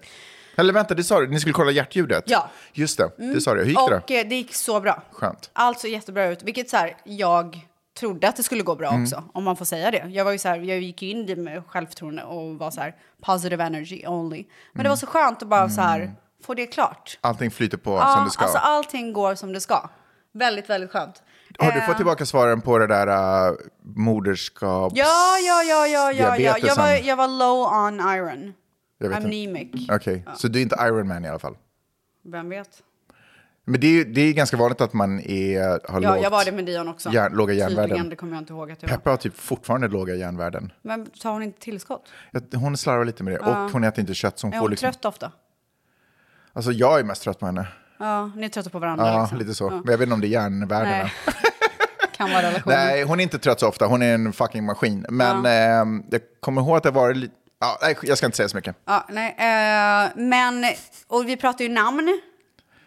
Eller vänta, det sa du. Ni skulle kolla hjärtljudet?
Mm. Ja.
Just det, det sa du. Hur gick det
Och
då?
eh, det gick så bra.
Skönt.
Allt såg jättebra ut. Vilket så här, jag trodde att det skulle gå bra
Mm.
också. Om man får säga det. Jag var ju så här, jag gick ju in med självförtroende och var så här positive energy only. Men
Mm.
det var så skönt att bara så här, få det klart.
Allting flyter på
Ja,
Mm. som det ska.
Alltså allting går som det ska. Väldigt, väldigt skönt.
Har du
Eh,
fått tillbaka svaren på det där äh, moderskaps...
Ja, ja, ja, ja, ja, ja. Jag
diabetesen?
var, jag var low on iron.
Jag vet inte.
Anemic.
Okej, så du är inte Iron Man i alla fall?
Vem vet?
Men det är, ju- det är ganska vanligt att man är, eh, har
Ja,
lågt...
jag var det med Dion också.
Järn- låga
Tydligen,
järnvärden.
det kommer jag inte ihåg att jag var.
Peppa har typ fortfarande låga järnvärden.
Men tar hon inte tillskott?
Jag- Hon slarvar lite med det och hon äter inte kött. Så hon
Är
får
hon
liksom...
trött ofta?
Alltså jag är mest trött på henne.
Ja, ni är trötta på varandra
Ja,
liksom.
lite så. Men jag vet inte om det är järnvärdena.
Nej.
Nej.
kan vara relationen.
hon är inte trött så ofta. Hon är en fucking maskin. Men ehm, jag kommer ihåg att det var lite... Ja, nej, jag ska inte säga så mycket.
Ja, nej, eh, men, och vi pratar ju namn.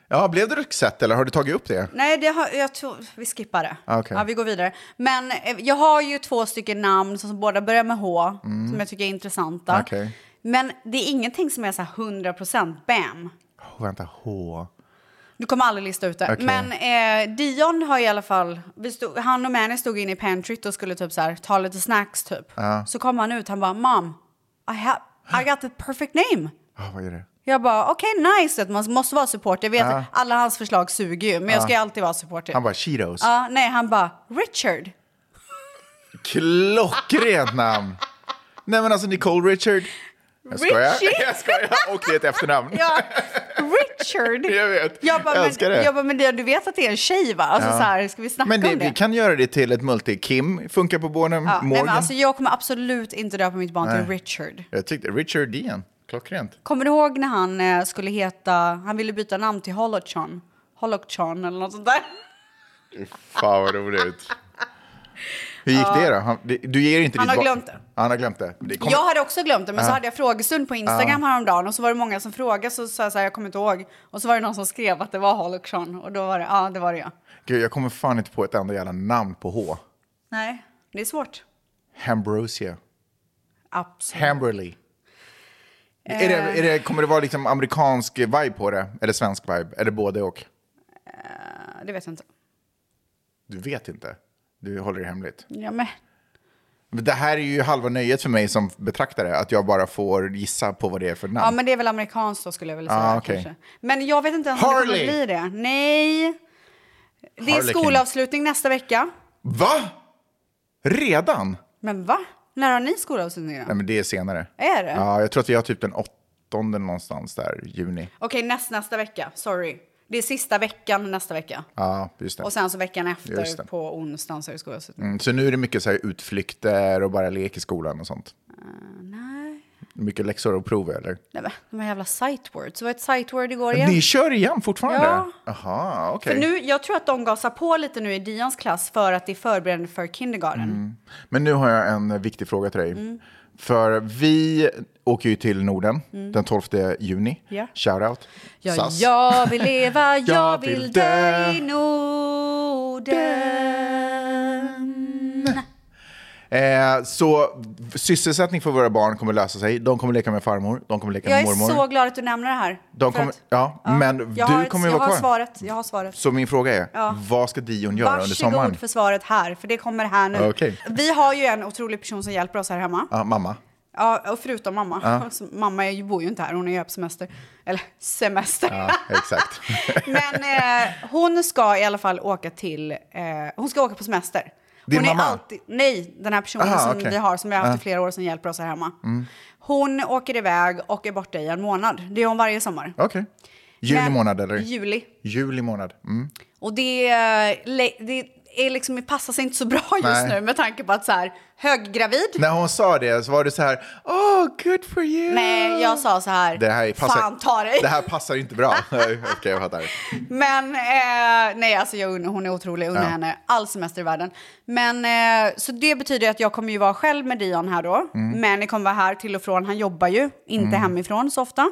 Ja, blev det Roxette eller har du tagit upp det?
Nej, det har, jag tror, vi skippar det.
Ah, Okej.
Ja, vi går vidare. Men eh, jag har ju två stycken namn som, som båda börjar med H, som jag tycker är intressanta.
Mm. Okej.
Men det är ingenting som är så här 100% bam.
Oh, vänta, H.
Du kommer aldrig lista ut det.
Okej.
Men eh, Dion har i alla fall... Vi stod, han och Manny stod inne i pantryt och skulle typ så här, ta lite snacks typ.
Ah.
Så kom han ut, han bara “Mom, I, ha, I got the perfect name”.
Ah, vad är det?
Jag bara, okej, nice. att Man måste vara supporter. Jag vet att alla hans förslag suger ju, men jag ska ju alltid vara supporter.
Han bara Cheetos.
Ja, nej, han bara, Richard.
Klockrent namn! Nej men alltså Nicole Richard. Jag skojar.
Richie?
Jag skojar. Och det är ett efternamn.
Ja, Richard.
Jag vet.
Jag bara,
Jag
men,
älskar det.
Jag bara, men det- du vet att det är en tjej va? Alltså så här, ska vi snacka
Men det,
om det?
vi kan göra det till ett multi. Kim funkar på Bornholm.
ja, nej,
Morgan.
men alltså, jag kommer absolut inte döpa mitt barn till Richard.
Jag tyckte Richard Dean. Klockrent.
Kommer du ihåg när han eh, skulle heta, han ville byta namn till Holochon? Holochon eller något sånt där.
Fan vad roligt. Hur gick det då? Han, det- du ger inte
Han
ditt
har
barn-
glömt det.
Ja, Han har glömt det. det kommer-
Jag hade också glömt det, men så hade jag frågestund på Instagram häromdagen och så var det många som frågade så sa jag så här, jag kommer inte ihåg. Och så var det någon som skrev att det var Holochon och då var det, ja det var det jag.
Gud, jag kommer fan inte på ett enda jävla namn på H.
Nej, det är svårt.
Hambrosia.
Absolut.
Hamberley. Är det, är
Eh.
det, kommer det vara liksom amerikansk vibe på det? Eller svensk vibe? Eller både och?
Ja, Det vet jag inte.
Du vet inte. Du håller det hemligt.
Ja, men,
Men Det här är ju halva nöjet för mig som betraktare, att jag bara får gissa på vad det är för
ja,
namn.
men det är väl amerikanskt då skulle jag vilja säga.
Ah, okej.
kanske. Men jag vet inte ens om det kommer
Harley!
bli det. Nej. Det är
Harlequin.
skolavslutning nästa vecka.
Va? Redan?
Men va? När har ni skolavslutning då?
Nej, men det är senare.
Är det?
Ja, jag tror att vi har typ den åttonde någonstans där, juni.
Okej, näst, nästa vecka. Sorry. Det är sista veckan nästa vecka.
Ja, just det.
Och sen så veckan
Just
efter
det.
på onsdagen så är det skolavslutning.
Mm, så nu är det mycket så här utflykter och bara lek i skolan och sånt. Mm.
nej.
Mycket läxor och prov, eller?
Nej, men de här jävla sight words. Det var ett sight word igår igen.
Ni kör igen fortfarande?
Ja.
Jaha, okej.
För nu, jag tror att de gasar på lite nu i Dians klass för att det är förberedande för kindergarten.
Mm. Men nu har jag en viktig fråga till dig.
Mm.
För vi åker ju till Norden
Mm.
den 12 juni.
Ja.
Shoutout.
Ja,
SAS.
jag vill leva, jag,
Jag
vill,
vill
dö
dö.
i Norden.
Eh, så sysselsättning för våra barn kommer lösa sig. De kommer leka med farmor, de kommer leka
Jag är
med mormor.
så glad att du nämner det här.
de
för
kommer,
att-
ja, men
jag har
du
ett-
kommer ju
jag
vara
har
kvar.
svaret. Jag har svaret.
Så min fråga är,
Ja.
vad ska Dion göra under sommaren?
Varsågod för svaret här, för det kommer här nu.
Okej.
Vi har ju en otrolig person som hjälper oss här hemma.
Ja, mamma.
Ja, och förutom mamma.
Ja.
Så Mamma är ju- bor ju inte här, hon är ju här på semester. Eller semester.
Ja, exakt.
Men eh, hon ska i alla fall åka till, eh, hon ska åka på semester.
Din
hon
mamma?
Är alltid, nej, den här personen
Aha,
som
okej.
vi har, som vi har haft i
Ja.
flera år, som hjälper oss här hemma.
Mm.
Hon åker iväg och är borta i en månad. Det är hon varje sommar.
Okej. Juli
Men-
månad eller?
Juli.
Juli månad. Mm.
Och det, eh, le- det är liksom, det passar sig inte så bra just
Nej.
nu med tanke på att så här, höggravid.
När hon sa det så var det så här,
Oh, good for you! Nej, jag sa så här,
det här passar,
fan ta dig.
Det här passar inte bra. Okej, jag fattar.
Men eh, nej, alltså jag unnar, hon är otrolig. Jag unnar
Ja.
henne all semester i världen. Men eh, så det betyder att jag kommer ju vara själv med Dion här då.
Mm.
Men ni kommer vara här till och från. Han jobbar ju inte
Mm.
hemifrån så ofta.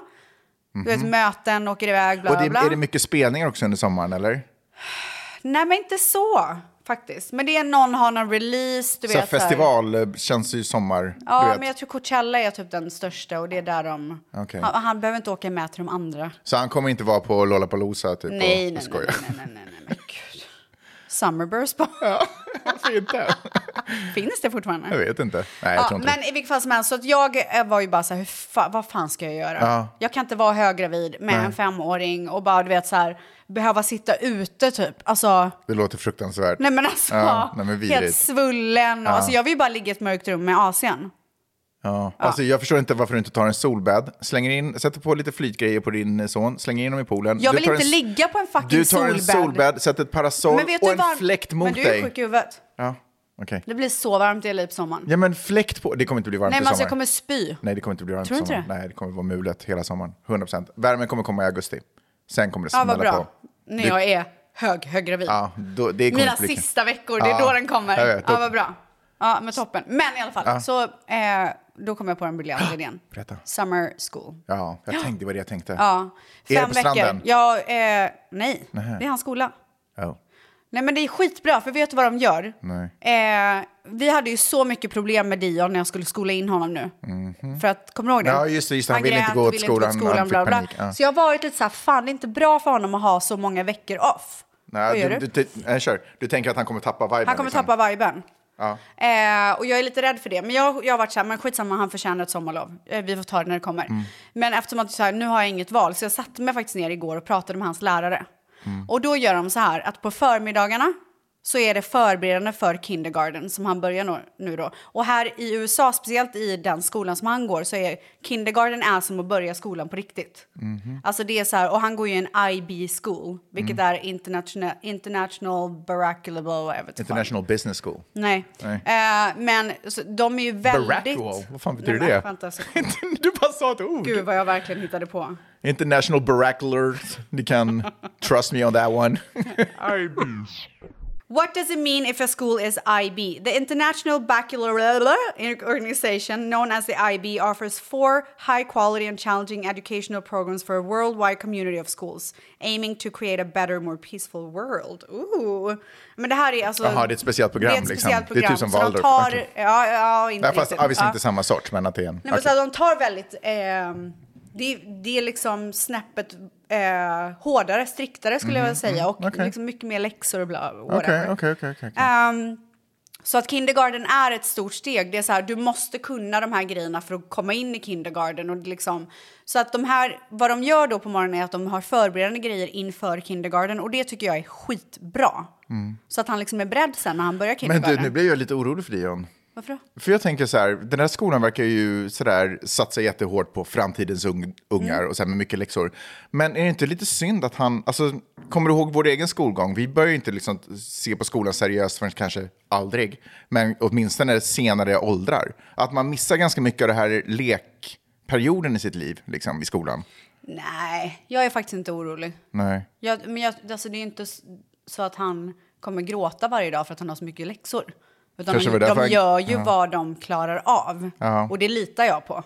Du vet,
Mhm.
möten, åker iväg, bla
Och
bla
det,
bla.
är det mycket spelningar också under sommaren eller?
Nej, men inte så faktiskt. Men det är någon har någon release, du
så här,
vet. så här.
festival eh, känns ju sommar.
Ja,
du
men
vet.
jag tror Coachella är typ den största och det är där de...
Okej.
Han, han behöver inte åka med till de andra.
Så han kommer inte vara på Lollapalooza typ?
Nej,
och-
nej,
och
nej,
skoja.
Summerburst bara. Ja,
varför inte?
Finns det fortfarande?
Jag vet inte. Nej, jag
ja,
tror inte
men i vilket fall som helst, så att jag eh, var ju bara så här, hur fa vad fan ska jag göra?
Ja.
Jag kan inte vara höggravid med
Nej.
en femåring och bara, du vet, så här, behöva sitta ute typ. Alltså,
det. Det låter fruktansvärt.
nej men alltså,
Ja, nej, men
helt
vidrigt.
svullen. Och,
Ja.
Alltså, jag vill ju bara ligga i ett mörkt rum med AC'n.
Ja. Alltså, jag förstår inte varför du inte tar en solbad. Slänger in, sätter på lite flytgrejer på din eh, son, slänger in dem i poolen.
Jag
Du
vill
tar
inte
en,
ligga på en fucking
Du tar en
solbädd.
solbad, sätter ett parasoll
Men vet
och
du
en
vad-
fläkt
Men
mot
du är
dig.
sjuk i huvudet.
Ja, okej.
Det blir så varmt i LA på sommaren.
Ja, men fläkt på. Det kommer inte bli varmt
Nej,
i
men alltså,
sommar.
jag kommer spy.
Nej, det kommer inte bli varmt
Tror
i
du inte
sommar. Nej, det kommer vara mulet hela sommaren. 100%. Värmen kommer komma i augusti. Sen kommer det
Ja,
smälla
vad bra.
på.
När
Det-
jag är hög, höggravid.
Ja, då, det kommer
Mina
inte bli-
sista veckor, det är
Ja,
då den kommer.
jag vet.
ja, vad bra. Ja, men toppen. Men i alla fall,
Ja. Ah,
så eh, då kom jag på den briljanta idén.
Berätta.
Summer school.
Ja, jag tänkte, det var det jag tänkte.
Ja,
Är
fem
det på stranden?
veckor. Ja, eh, nej,
Nähä.
det är hans skola.
Oh,
Nej, men det är skitbra, för vet du vad de gör?
nej.
Eh, vi hade ju så mycket problem med Dion när jag skulle skola in honom nu.
Mhm.
För att, kommer du ihåg det?
Ja, just det, just det. Han ville inte
grät
gå
och
åt skolan,
till
han fick
bla, bla.
panik, ja.
Så jag har varit lite så här, fan det är inte bra för honom att ha så många veckor off. Vad
Nej,
gör
du,
du?
du, du, nej, kör. Du tänker att han kommer tappa viben?
Han kommer
liksom.
tappa viben.
Ja.
Eh, och jag är lite rädd för det. Men jag, jag har varit så här, men skitsamma, han förtjänar ett sommarlov. Eh, vi får ta det när det kommer.
Mm.
Men eftersom att så här, nu har jag inget val, så jag satte mig faktiskt ner igår och pratade med hans lärare. Mm. Och då gör de så här, att på förmiddagarna så är det förberedande för kindergarten som han börjar nå- nu då. Och här i USA, speciellt i den skolan som han går, så är kindergarten är som att börja skolan på riktigt.
Mhm.
Alltså det är så här, och han går ju i en IB school, vilket
Mm.
är international, international Baraculable, jag vet inte vad.
International Business School.
Nej.
Nej.
Eh, men så, de är ju väldigt...
Barracual? Vad fan betyder
Nej,
det?
men vänta, så-
du bara sa ett ord.
Gud, vad jag verkligen hittade på.
International Baracklers. Ni kan trust me on that one.
What does it mean if a school is IB? The International Baccalaureate Organization, known as the IB, offers four high quality and challenging educational programs for a worldwide community of schools, aiming to create a better, more peaceful world. Ooh. Men det här är alltså...
Jaha, det är ett speciellt program,
Det är ett
liksom.
speciellt
Det är
program.
typ som
så de
Waldorf.
tar...
Okej.
Ja, ja, inte
Nej, fast
riktigt.
obviously
Ja.
inte samma sort, men att det är en...
Nej, men
Okej.
så de tar väldigt... Eh, det, det är liksom snäppet eh, hårdare, striktare skulle jag
Mhm,
vilja säga.
mm,
Och
okej.
liksom mycket mer läxor och bla. whatever.
Okej, okej, okej. okej.
Ehm, så att kindergarten är ett stort steg. Det är så här, du måste kunna de här grejerna för att komma in i kindergarten. Och det liksom, så att de här, vad de gör då på morgonen är att de har förberedande grejer inför kindergarten. Och det tycker jag är skitbra.
Mm.
Så att han liksom är beredd sen när han börjar
Men
kindergarten.
du, nu blir jag lite orolig för dig, John.
Varför då?
För jag tänker så här, den här skolan verkar ju så där, satsa jättehårt på framtidens ung, ungar
Mm.
och så här med mycket läxor. Men är det inte lite synd att han, alltså kommer du ihåg vår egen skolgång? Vi börjar ju inte liksom se på skolan seriöst förrän kanske aldrig, men åtminstone senare åldrar. Att man missar ganska mycket av det här lekperioden i sitt liv, liksom i skolan.
Nej, jag är faktiskt inte orolig.
Nej.
Jag, men jag, alltså det är ju inte s- så att han kommer gråta varje dag för att han har så mycket läxor. Utan
Kanske var
de,
det därför
de gör
han-
ju
Ja.
vad de klarar av.
Ja.
Och det litar jag på.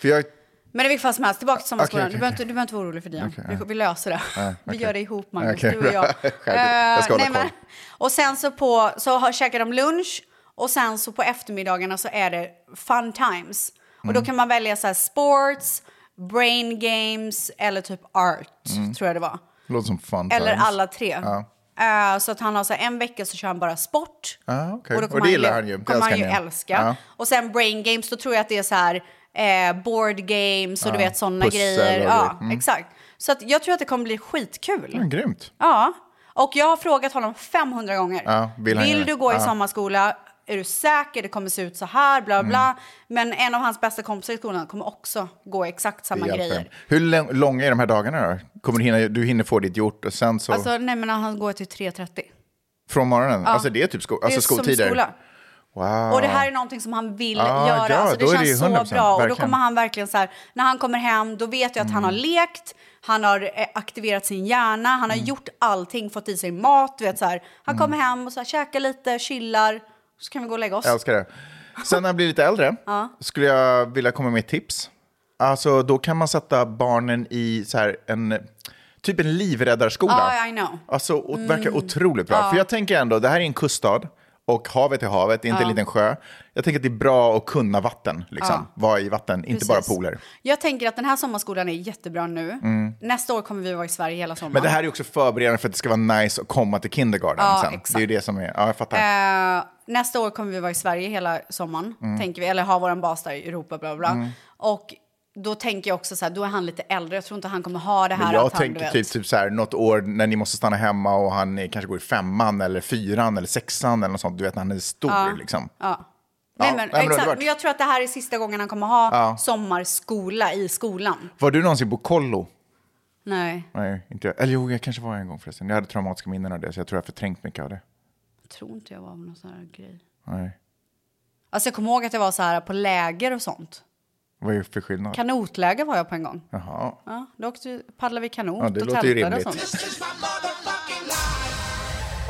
För jag,
Men i vilket fall som helst, tillbaka till
Okej,
sommarskolan.
okej,
du, behöver inte,
okej.
du behöver inte vara orolig för Dion.
Okej,
vi,
ja.
vi löser det.
Ja,
Vi
okej.
gör det ihop, Magnus.
Okej,
du och jag.
bra. Skärp dig. Jag ska
Eh,
hålla koll.
och sen så, på, så har, käkar de lunch och sen så på eftermiddagarna så är det fun times. Och då
Mm.
kan man välja så här sports, brain games eller typ art,
Mm.
tror jag det var.
låter som fun
Eller
times.
alla tre.
Ja.
Eh, så att han har så här, en vecka så kör han bara sport.
Ah, okej.
Och då kommer
Och, det
han
gillar
ju-
han ju. Det
kommer han ju
älskar
älska.
Ja.
Och sen brain games, då tror jag att det är så här eh, board games och du
Ja,
vet sådana
pussel och
grejer.
grejer.
Ja,
Mm.
exakt. Så att jag tror att det kommer bli skitkul.
Ja, grymt.
Ja, och jag har frågat honom 500 gånger.
Ja, vill han göra?
du gå i
Ja.
sommarskola? Är du säker? Det kommer se ut så här, bla
Mm.
bla. Men en av hans bästa kompisar i skolan kommer också gå exakt samma
Det hjälper
grejer.
en. Hur lång- långa är de här dagarna då? Kommer du, hinna, du hinner få ditt gjort och sen så
Alltså, nej men han går till 3.30.
från morgonen?
ja.
Alltså det är typ sko,
Det är
alltså
som
skoltider?
skola.
Wow.
Och det här är någonting som han vill
Ah,
göra.
ja,
alltså, det
då är det
känns
ju
så
100%,
bra. Och då
verkligen. Mm.
kommer han verkligen så här, när han kommer hem, då vet jag att han har lekt, han har eh, aktiverat sin hjärna, han har gjort allting, fått i sig mat, du vet så här. Han
Mm.
kommer hem och så här, käkar lite, chillar, så kan vi gå och lägga oss.
Jag älskar det. Sen när jag blir lite äldre
Ja.
skulle jag vilja komma med ett tips. Alltså då kan man sätta barnen i så här en, typ en livräddarskola.
Ja, I know.
Alltså, och det verkar
Mm.
otroligt bra.
Ja.
För jag tänker ändå, det här är en kuststad och havet är havet, det är inte
Ja.
en liten sjö. Jag tänker att det är bra att kunna vatten, liksom. Vara i vatten, inte
Precis.
bara pooler.
Jag tänker att den här sommarskolan är jättebra nu.
Mm.
Nästa år kommer vi vara i Sverige hela sommaren.
Men det här är också förberedande för att det ska vara nice att komma till kindergarten
Ja,
sen. Det är ju det som är, ja jag fattar.
Eh, nästa år kommer vi vara i Sverige hela sommaren,
Mm.
tänker vi. Eller ha vår bas där i Europa, bla bla. bla.
Mm.
Och då tänker jag också så här, då är han lite äldre. Jag tror inte han kommer ha det här
Men jag
att han, du
tänker
vet-
typ, typ så här, något år när ni måste stanna hemma och han är, kanske går i femman eller fyran eller sexan eller något sånt. Du vet när han är stor
Ja.
liksom.
Ja. Nej, men,
nej, men
exakt.
underbart.
men jag tror att det här är sista gången han kommer ha
Ja.
sommarskola i skolan.
Var du någonsin på kollo?
Nej,
Nej, inte jag. Eller jo, jag kanske var en gång förresten. Jag hade traumatiska minnen av det, så jag tror jag har förträngt mycket av det.
jag tror inte jag var med någon sån här grej.
Nej.
Alltså jag kommer ihåg att jag var så här på läger och sånt.
Vad är det för skillnad?
Kanotläger var jag på en gång.
Jaha.
Ja, då åkte, paddlade vi kanot
Ja, det
och
låter ju
tältade och
rimligt.
sånt.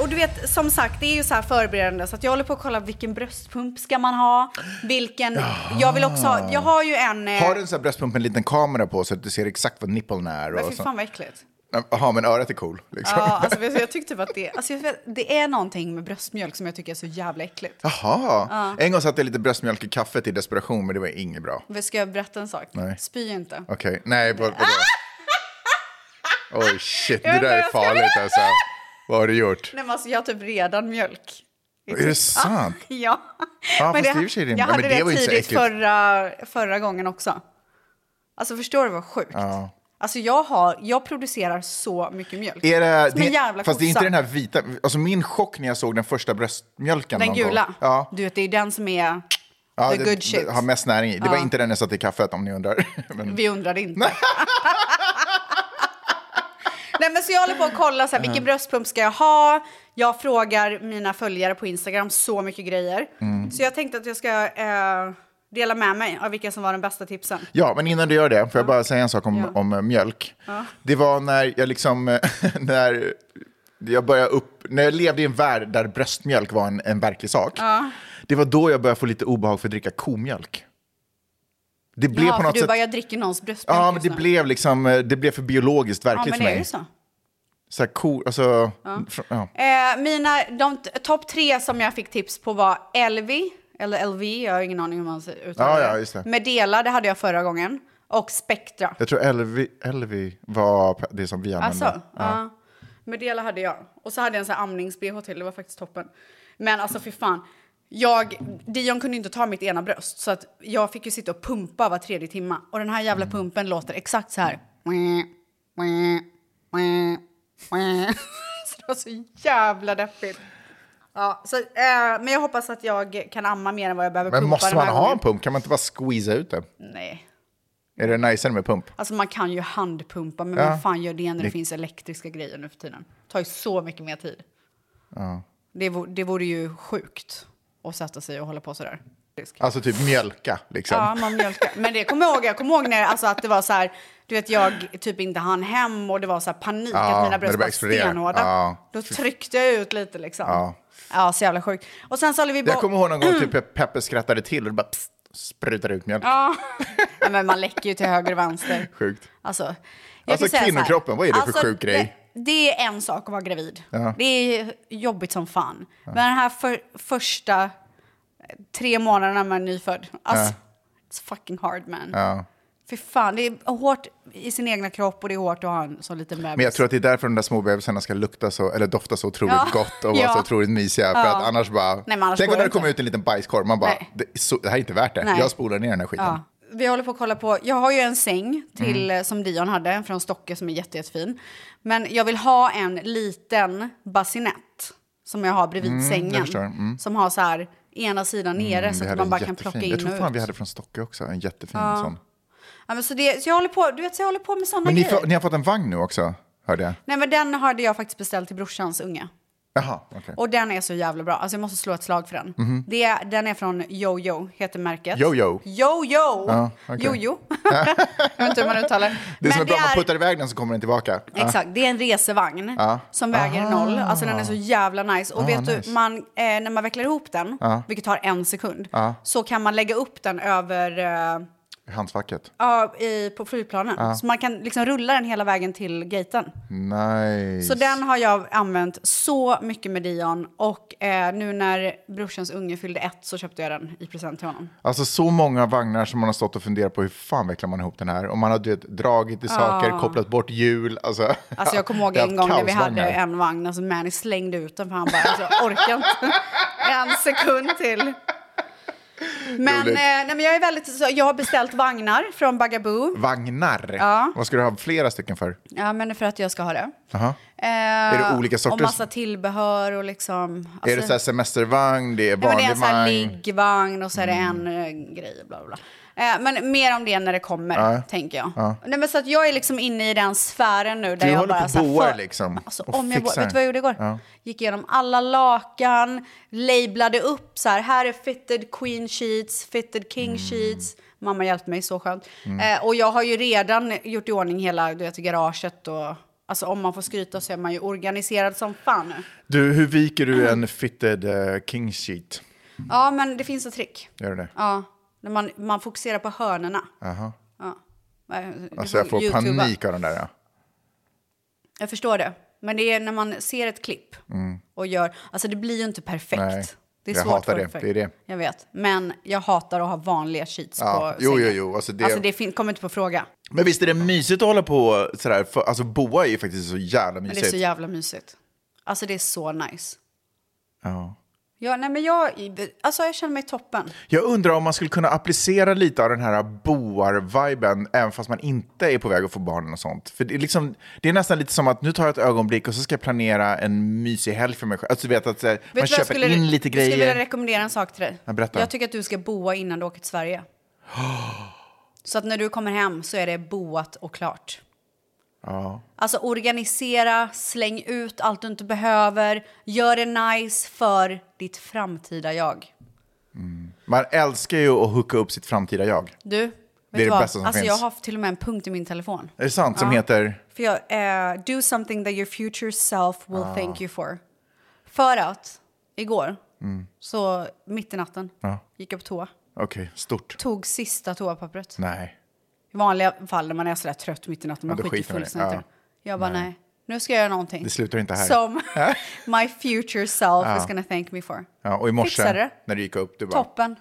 Och du vet, som sagt, det är ju så här förberedande så att jag håller på att kolla vilken bröstpump ska man ha, vilken... Jag vill också ha, jag har ju en... eh,
Har du en sån här bröstpump en liten kamera på så att du ser exakt vad nippeln är?
Men
Och
fy
så-
fan vad äckligt.
Jaha, men örat är cool. Liksom.
Ja, alltså, vet du, jag tyckte bara att det, alltså, jag vet, det är någonting med bröstmjölk som jag tycker är så jävla äckligt.
Jaha.
Ja.
En gång satte jag lite bröstmjölk i kaffet i desperation, men det var inget bra.
Men Ska jag berätta en sak?
Nej.
Spy inte.
Okej, nej, vad, vadå? Oj, shit,
Jag
det där
vet
är
inte vad jag ska
farligt
göra.
alltså. Vad har du gjort?
Nej men alltså jag har typ redan mjölk.
Är det sant?
Ja. men
Ja, fast det är i
det,
och för sig rimligt.
jag
Ja,
hade
men det
det,
var ju inte så
tidigt
äckligt.
förra, förra gången också. Alltså förstår du vad sjukt?
Ja.
Alltså jag, har, jag producerar så mycket mjölk.
Är det,
Som en
det-
jävla
fast det är
kossa.
inte den här vita, alltså min chock när jag såg den första bröstmjölken.
Den
någon gång.
gula.
Ja,
Du vet, det är den som är
ja
the
det,
good shit.
det har mest näring i. Det var
Ja.
inte den jag satte i kaffet om ni undrar. Men,
Vi undrade inte. Nej men så jag håller på att kolla så här, vilken
Mm.
bröstpump ska jag ha? Jag frågar mina följare på Instagram så mycket grejer.
Mm.
Så jag tänkte att jag ska eh, dela med mig av vilka som var de bästa tipsen.
ja, men innan du gör det, får jag bara säga en sak om, om eh, mjölk.
Ja.
Det var när jag liksom, när jag började upp, när jag levde i en värld där bröstmjölk var en, en verklig sak.
Ja.
Det var då jag började få lite obehag för att dricka komjölk. Det blev
ja,
på
för
något
du
sätt...
bara, jag dricker någons bröstmjölk
Ja, men det
just nu.
blev, liksom, eh, det blev för biologiskt verkligt
Ja, men
för
det
mig.
är ju så.
Så här, ko, alltså,
Ja.
fr- ja.
Eh, mina, de t- topp tre som jag fick tips på var Elvi, eller LV, jag har ingen aning hur man säger- uttalar
Ja, ja, just det.
Medela, det hade jag förra gången. Och Spectra.
Jag tror Elvi, Elvi var det som vi använde.
Alltså,
ja.
ja. Medela hade jag. Och så hade jag en sån här amnings-bh till, det var faktiskt toppen. Men alltså fy fan. Jag, Dion kunde inte ta mitt ena bröst så att jag fick ju sitta och pumpa var tredje timma. Och den här jävla pumpen låter exakt så här. Så det var så jävla deppigt. Ja, så, eh, men jag hoppas att jag kan amma mer än vad jag behöver
Men
pumpa
måste
den
man
här
ha en
gången.
pump? Kan man inte bara squeeza ut den?
Nej.
Är det najsare med pump?
Alltså man kan ju handpumpa, men
Ja.
vem fan gör det när det
Det-
finns elektriska grejer nu för tiden? Det tar ju så mycket mer tid.
Ja.
Det, vore, det vore ju sjukt att sätta sig och hålla på sådär.
Alltså typ mjölka liksom.
Ja, man mjölkar. Men det kommer jag ihåg. Jag kommer ihåg när, alltså, att det var så här, du vet jag typ inte hann hem och det var så här panik
Ja,
att mina
när
bröst var
det började explodera.
stenhårda.
Ja.
Då tryckte jag ut lite liksom. Ja,
Ja.
så jävla sjukt. Och sen så håller vi på...
Jag kommer ihåg någon gång typ Peppe skrattade till och det bara pst, sprutade ut mjölk.
Ja. Nej, men man läcker ju till höger och vänster.
Sjukt.
Alltså, jag
Alltså
kan säga så här. Alltså,
kvinnokroppen, vad är det för sjuk grej?
Det, det är en sak att vara gravid.
Ja.
Det är jobbigt som fan. Men den här för, första tre månaderna man är nyfödd, alltså, it's fucking hard man.
Ja.
Fy fan, det är hårt i sin egna kropp och det är hårt att ha en sån liten bebis.
Men jag tror att det är därför de där små bebisarna ska lukta så, eller dofta så otroligt
Ja.
gott och vara
Ja.
så otroligt mysiga. För
Ja.
att annars bara...
Nej, men annars
tänk
går
om
det
det kommer ut en liten bajskorv, man bara,
Nej.
det, är så, det här är inte värt det.
Nej.
Jag spolar ner den här skiten.
Ja. Vi håller på att kolla på, jag har ju en säng till,
Mm.
eh, som Dion hade från Stocke som är jätte, jättefin. Men jag vill ha en liten bassinett som jag har bredvid
Mm, jag
sängen.
förstår. Mm.
Som har så här ena sidan nere
Mm, vi
så att
hade
man
en
bara kan
jättefin.
plocka in
Jag tror
och
fan
ut.
vi hade från Stocke också, en jättefin
Ja.
sån.
ja, men så, det, så jag håller på, du vet så jag håller på med sådana
Men ni,
grejer.
får- ni har fått en vagn nu också, hörde jag.
Nej men den hade jag faktiskt beställt till brorsans unge.
Jaha, okej.
Och den är så jävla bra, alltså jag måste slå ett slag för den.
Mhm.
Det, är- den är från Jojo, heter märket.
Jojo.
Jojo!
Ja, okej.
Jojo. jag vet inte hur man uttalar det.
Det som
Men
är bra,
det
man
är-
puttar iväg den så kommer den tillbaka. Ja.
Exakt, det är en resevagn
Ja.
som väger
Aha.
noll. Alltså den är så jävla nice. Och
Ah,
vet du,
nice.
man, eh, när man vecklar ihop den,
Ja.
vilket tar en sekund,
Ja.
så kan man lägga upp den över eh,
Handskfacket.
ja, i, på flygplanen.
Ja.
Så man kan liksom rulla den hela vägen till gaten.
Nice.
Så den har jag använt så mycket med Dion. Och eh, nu när brorsans unge fyllde ett så köpte jag den i present till honom.
Alltså så många vagnar som man har stått och funderat på hur fan vecklar man ihop den här? Och man har du vet, dragit i saker,
Ah.
kopplat bort hjul. Alltså,
Alltså jag kommer ihåg
Det har
en gång
haft
när vi hade
kaosvagnar.
en vagn, alltså Manny slängde ut den för han bara, alltså, jag orkar inte en sekund till. Men, eh,
Roligt.
nej, men jag är väldigt, så jag har beställt vagnar från Bagaboo.
Vagnar?
Ja.
Vad ska du ha flera stycken för?
Ja, men det är för att jag ska ha det.
Jaha.
Eh,
Är det olika
Och
sorters-
massa tillbehör och liksom.
är det så här semestervagn, det
nej,
är
men
vanlig
det är en sån här
vagn?
liggvagn och så är det en
Mm.
eh, grej, bla bla. bla. Eh, men mer om det när det kommer,
Ja.
tänker jag.
Ja.
Nej, men så att jag är liksom inne i den sfären nu. Där
Du
jag
håller
bara,
på och
så här,
boar
för-
liksom.
Alltså,
och
om jag, bo-
fixar.
vet du vad jag gjorde igår?
Ja.
Gick igenom alla lakan, lablade upp så här, här är fitted queen sheets, fitted king
Mm.
sheets. Mamma hjälpte mig, så skönt.
Mm.
Eh, och jag har ju redan gjort i ordning hela du vet, garaget och... Alltså om man får skryta så är man ju organiserad som fan nu.
Du, hur viker du
Mm.
en fitted uh, king sheet?
Ja, men det finns ett trick.
Gör du det?
Ja, när man, man fokuserar på hörnorna.
Jaha.
Ja. Eh, Du
Alltså jag får
youtuba.
panik av den där. Ja.
Jag förstår det. Men det är när man ser ett klipp
Mm.
och gör... Alltså det blir ju inte perfekt.
Nej,
Det är
jag
svårt
hatar
för
det.
perfekt.
Det är det.
Jag vet. Men jag hatar att ha vanliga sheets
Ja,
på
jo,
sängen.
jo, jo. Alltså det-
Alltså det fin- kommer inte på fråga.
Men visst är det mysigt att hålla på sådär? För, alltså boa är ju faktiskt så jävla
Men
mysigt.
det är så jävla mysigt. Alltså det är så nice.
ja.
Ja, nej men jag... Alltså jag känner mig toppen.
Jag undrar om man skulle kunna applicera lite av den här boar-viben även fast man inte är på väg att få barn och sånt. För det är, liksom, det är nästan lite som att nu tar jag ett ögonblick och så ska jag planera en mysig helg för mig själv. Alltså du vet att så här,
Vet
man
du vad jag
köper
skulle-
in lite
Jag skulle
grejer.
vilja rekommendera en sak till dig.
Ja, berätta.
Jag tycker att du ska boa innan du åker till Sverige. Så att när du kommer hem så är det boat och klart.
ja.
Alltså organisera, släng ut allt du inte behöver. Gör det nice för ditt framtida jag.
Man älskar ju att hooka upp sitt framtida jag.
Du, vet
Det är det
du vad?
bästa som
alltså,
finns.
Jag har till och med en punkt i min telefon.
Är det sant? Som
Ja.
heter?
För jag, eh, do something that your future self will
Ah.
thank you for. För att igår,
Mm.
så mitt i natten,
Ja.
gick jag på toa.
Okej, stort.
Tog sista toapappret.
Nej.
I vanliga fall när man är sådär trött mitt i natten,
Ja,
man
då
skiter
skiter man i det.
fullständigt i
Ja.
det. Jag bara nej. nu ska jag göra någonting.
Det slutar inte här.
Som my future self
Ja.
is gonna thank me for.
Ja, och i
Fixade
morse
det.
när du gick upp, du bara...
Toppen.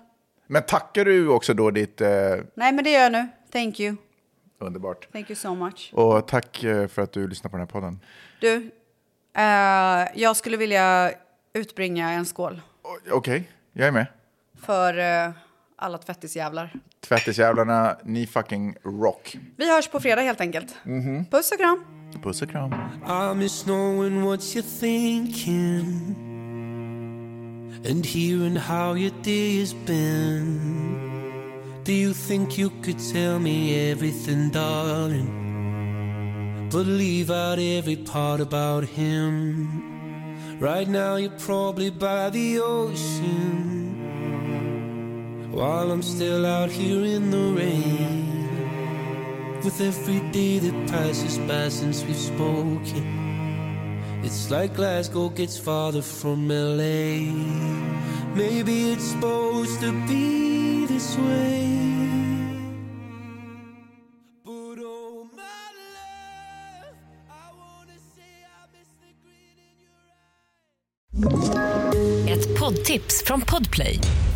Men tackar du också då ditt... Eh,
Nej men det gör jag nu. Thank you.
underbart.
Thank you so much.
Och tack eh, för att du lyssnar på den här podden.
Du, eh, jag skulle vilja utbringa en skål
Okej, jag är med.
för eh, alla tvättisjävlar.
Tvättisjävlarna, ni fucking rock.
Vi hörs på fredag helt enkelt.
Mhm.
Puss och kram.
Puss och kram.
I miss knowing what you're thinking. and hearing how your day has been. Do you think you could tell me everything, darling? But leave out every part about him. Right now, you're probably by the ocean. While I'm still out here in the rain. With every day that passes by since we've spoken. It's like Glasgow gets farther from LA. Maybe it's supposed to be this way. oh,
Ett poddtips från Podplay.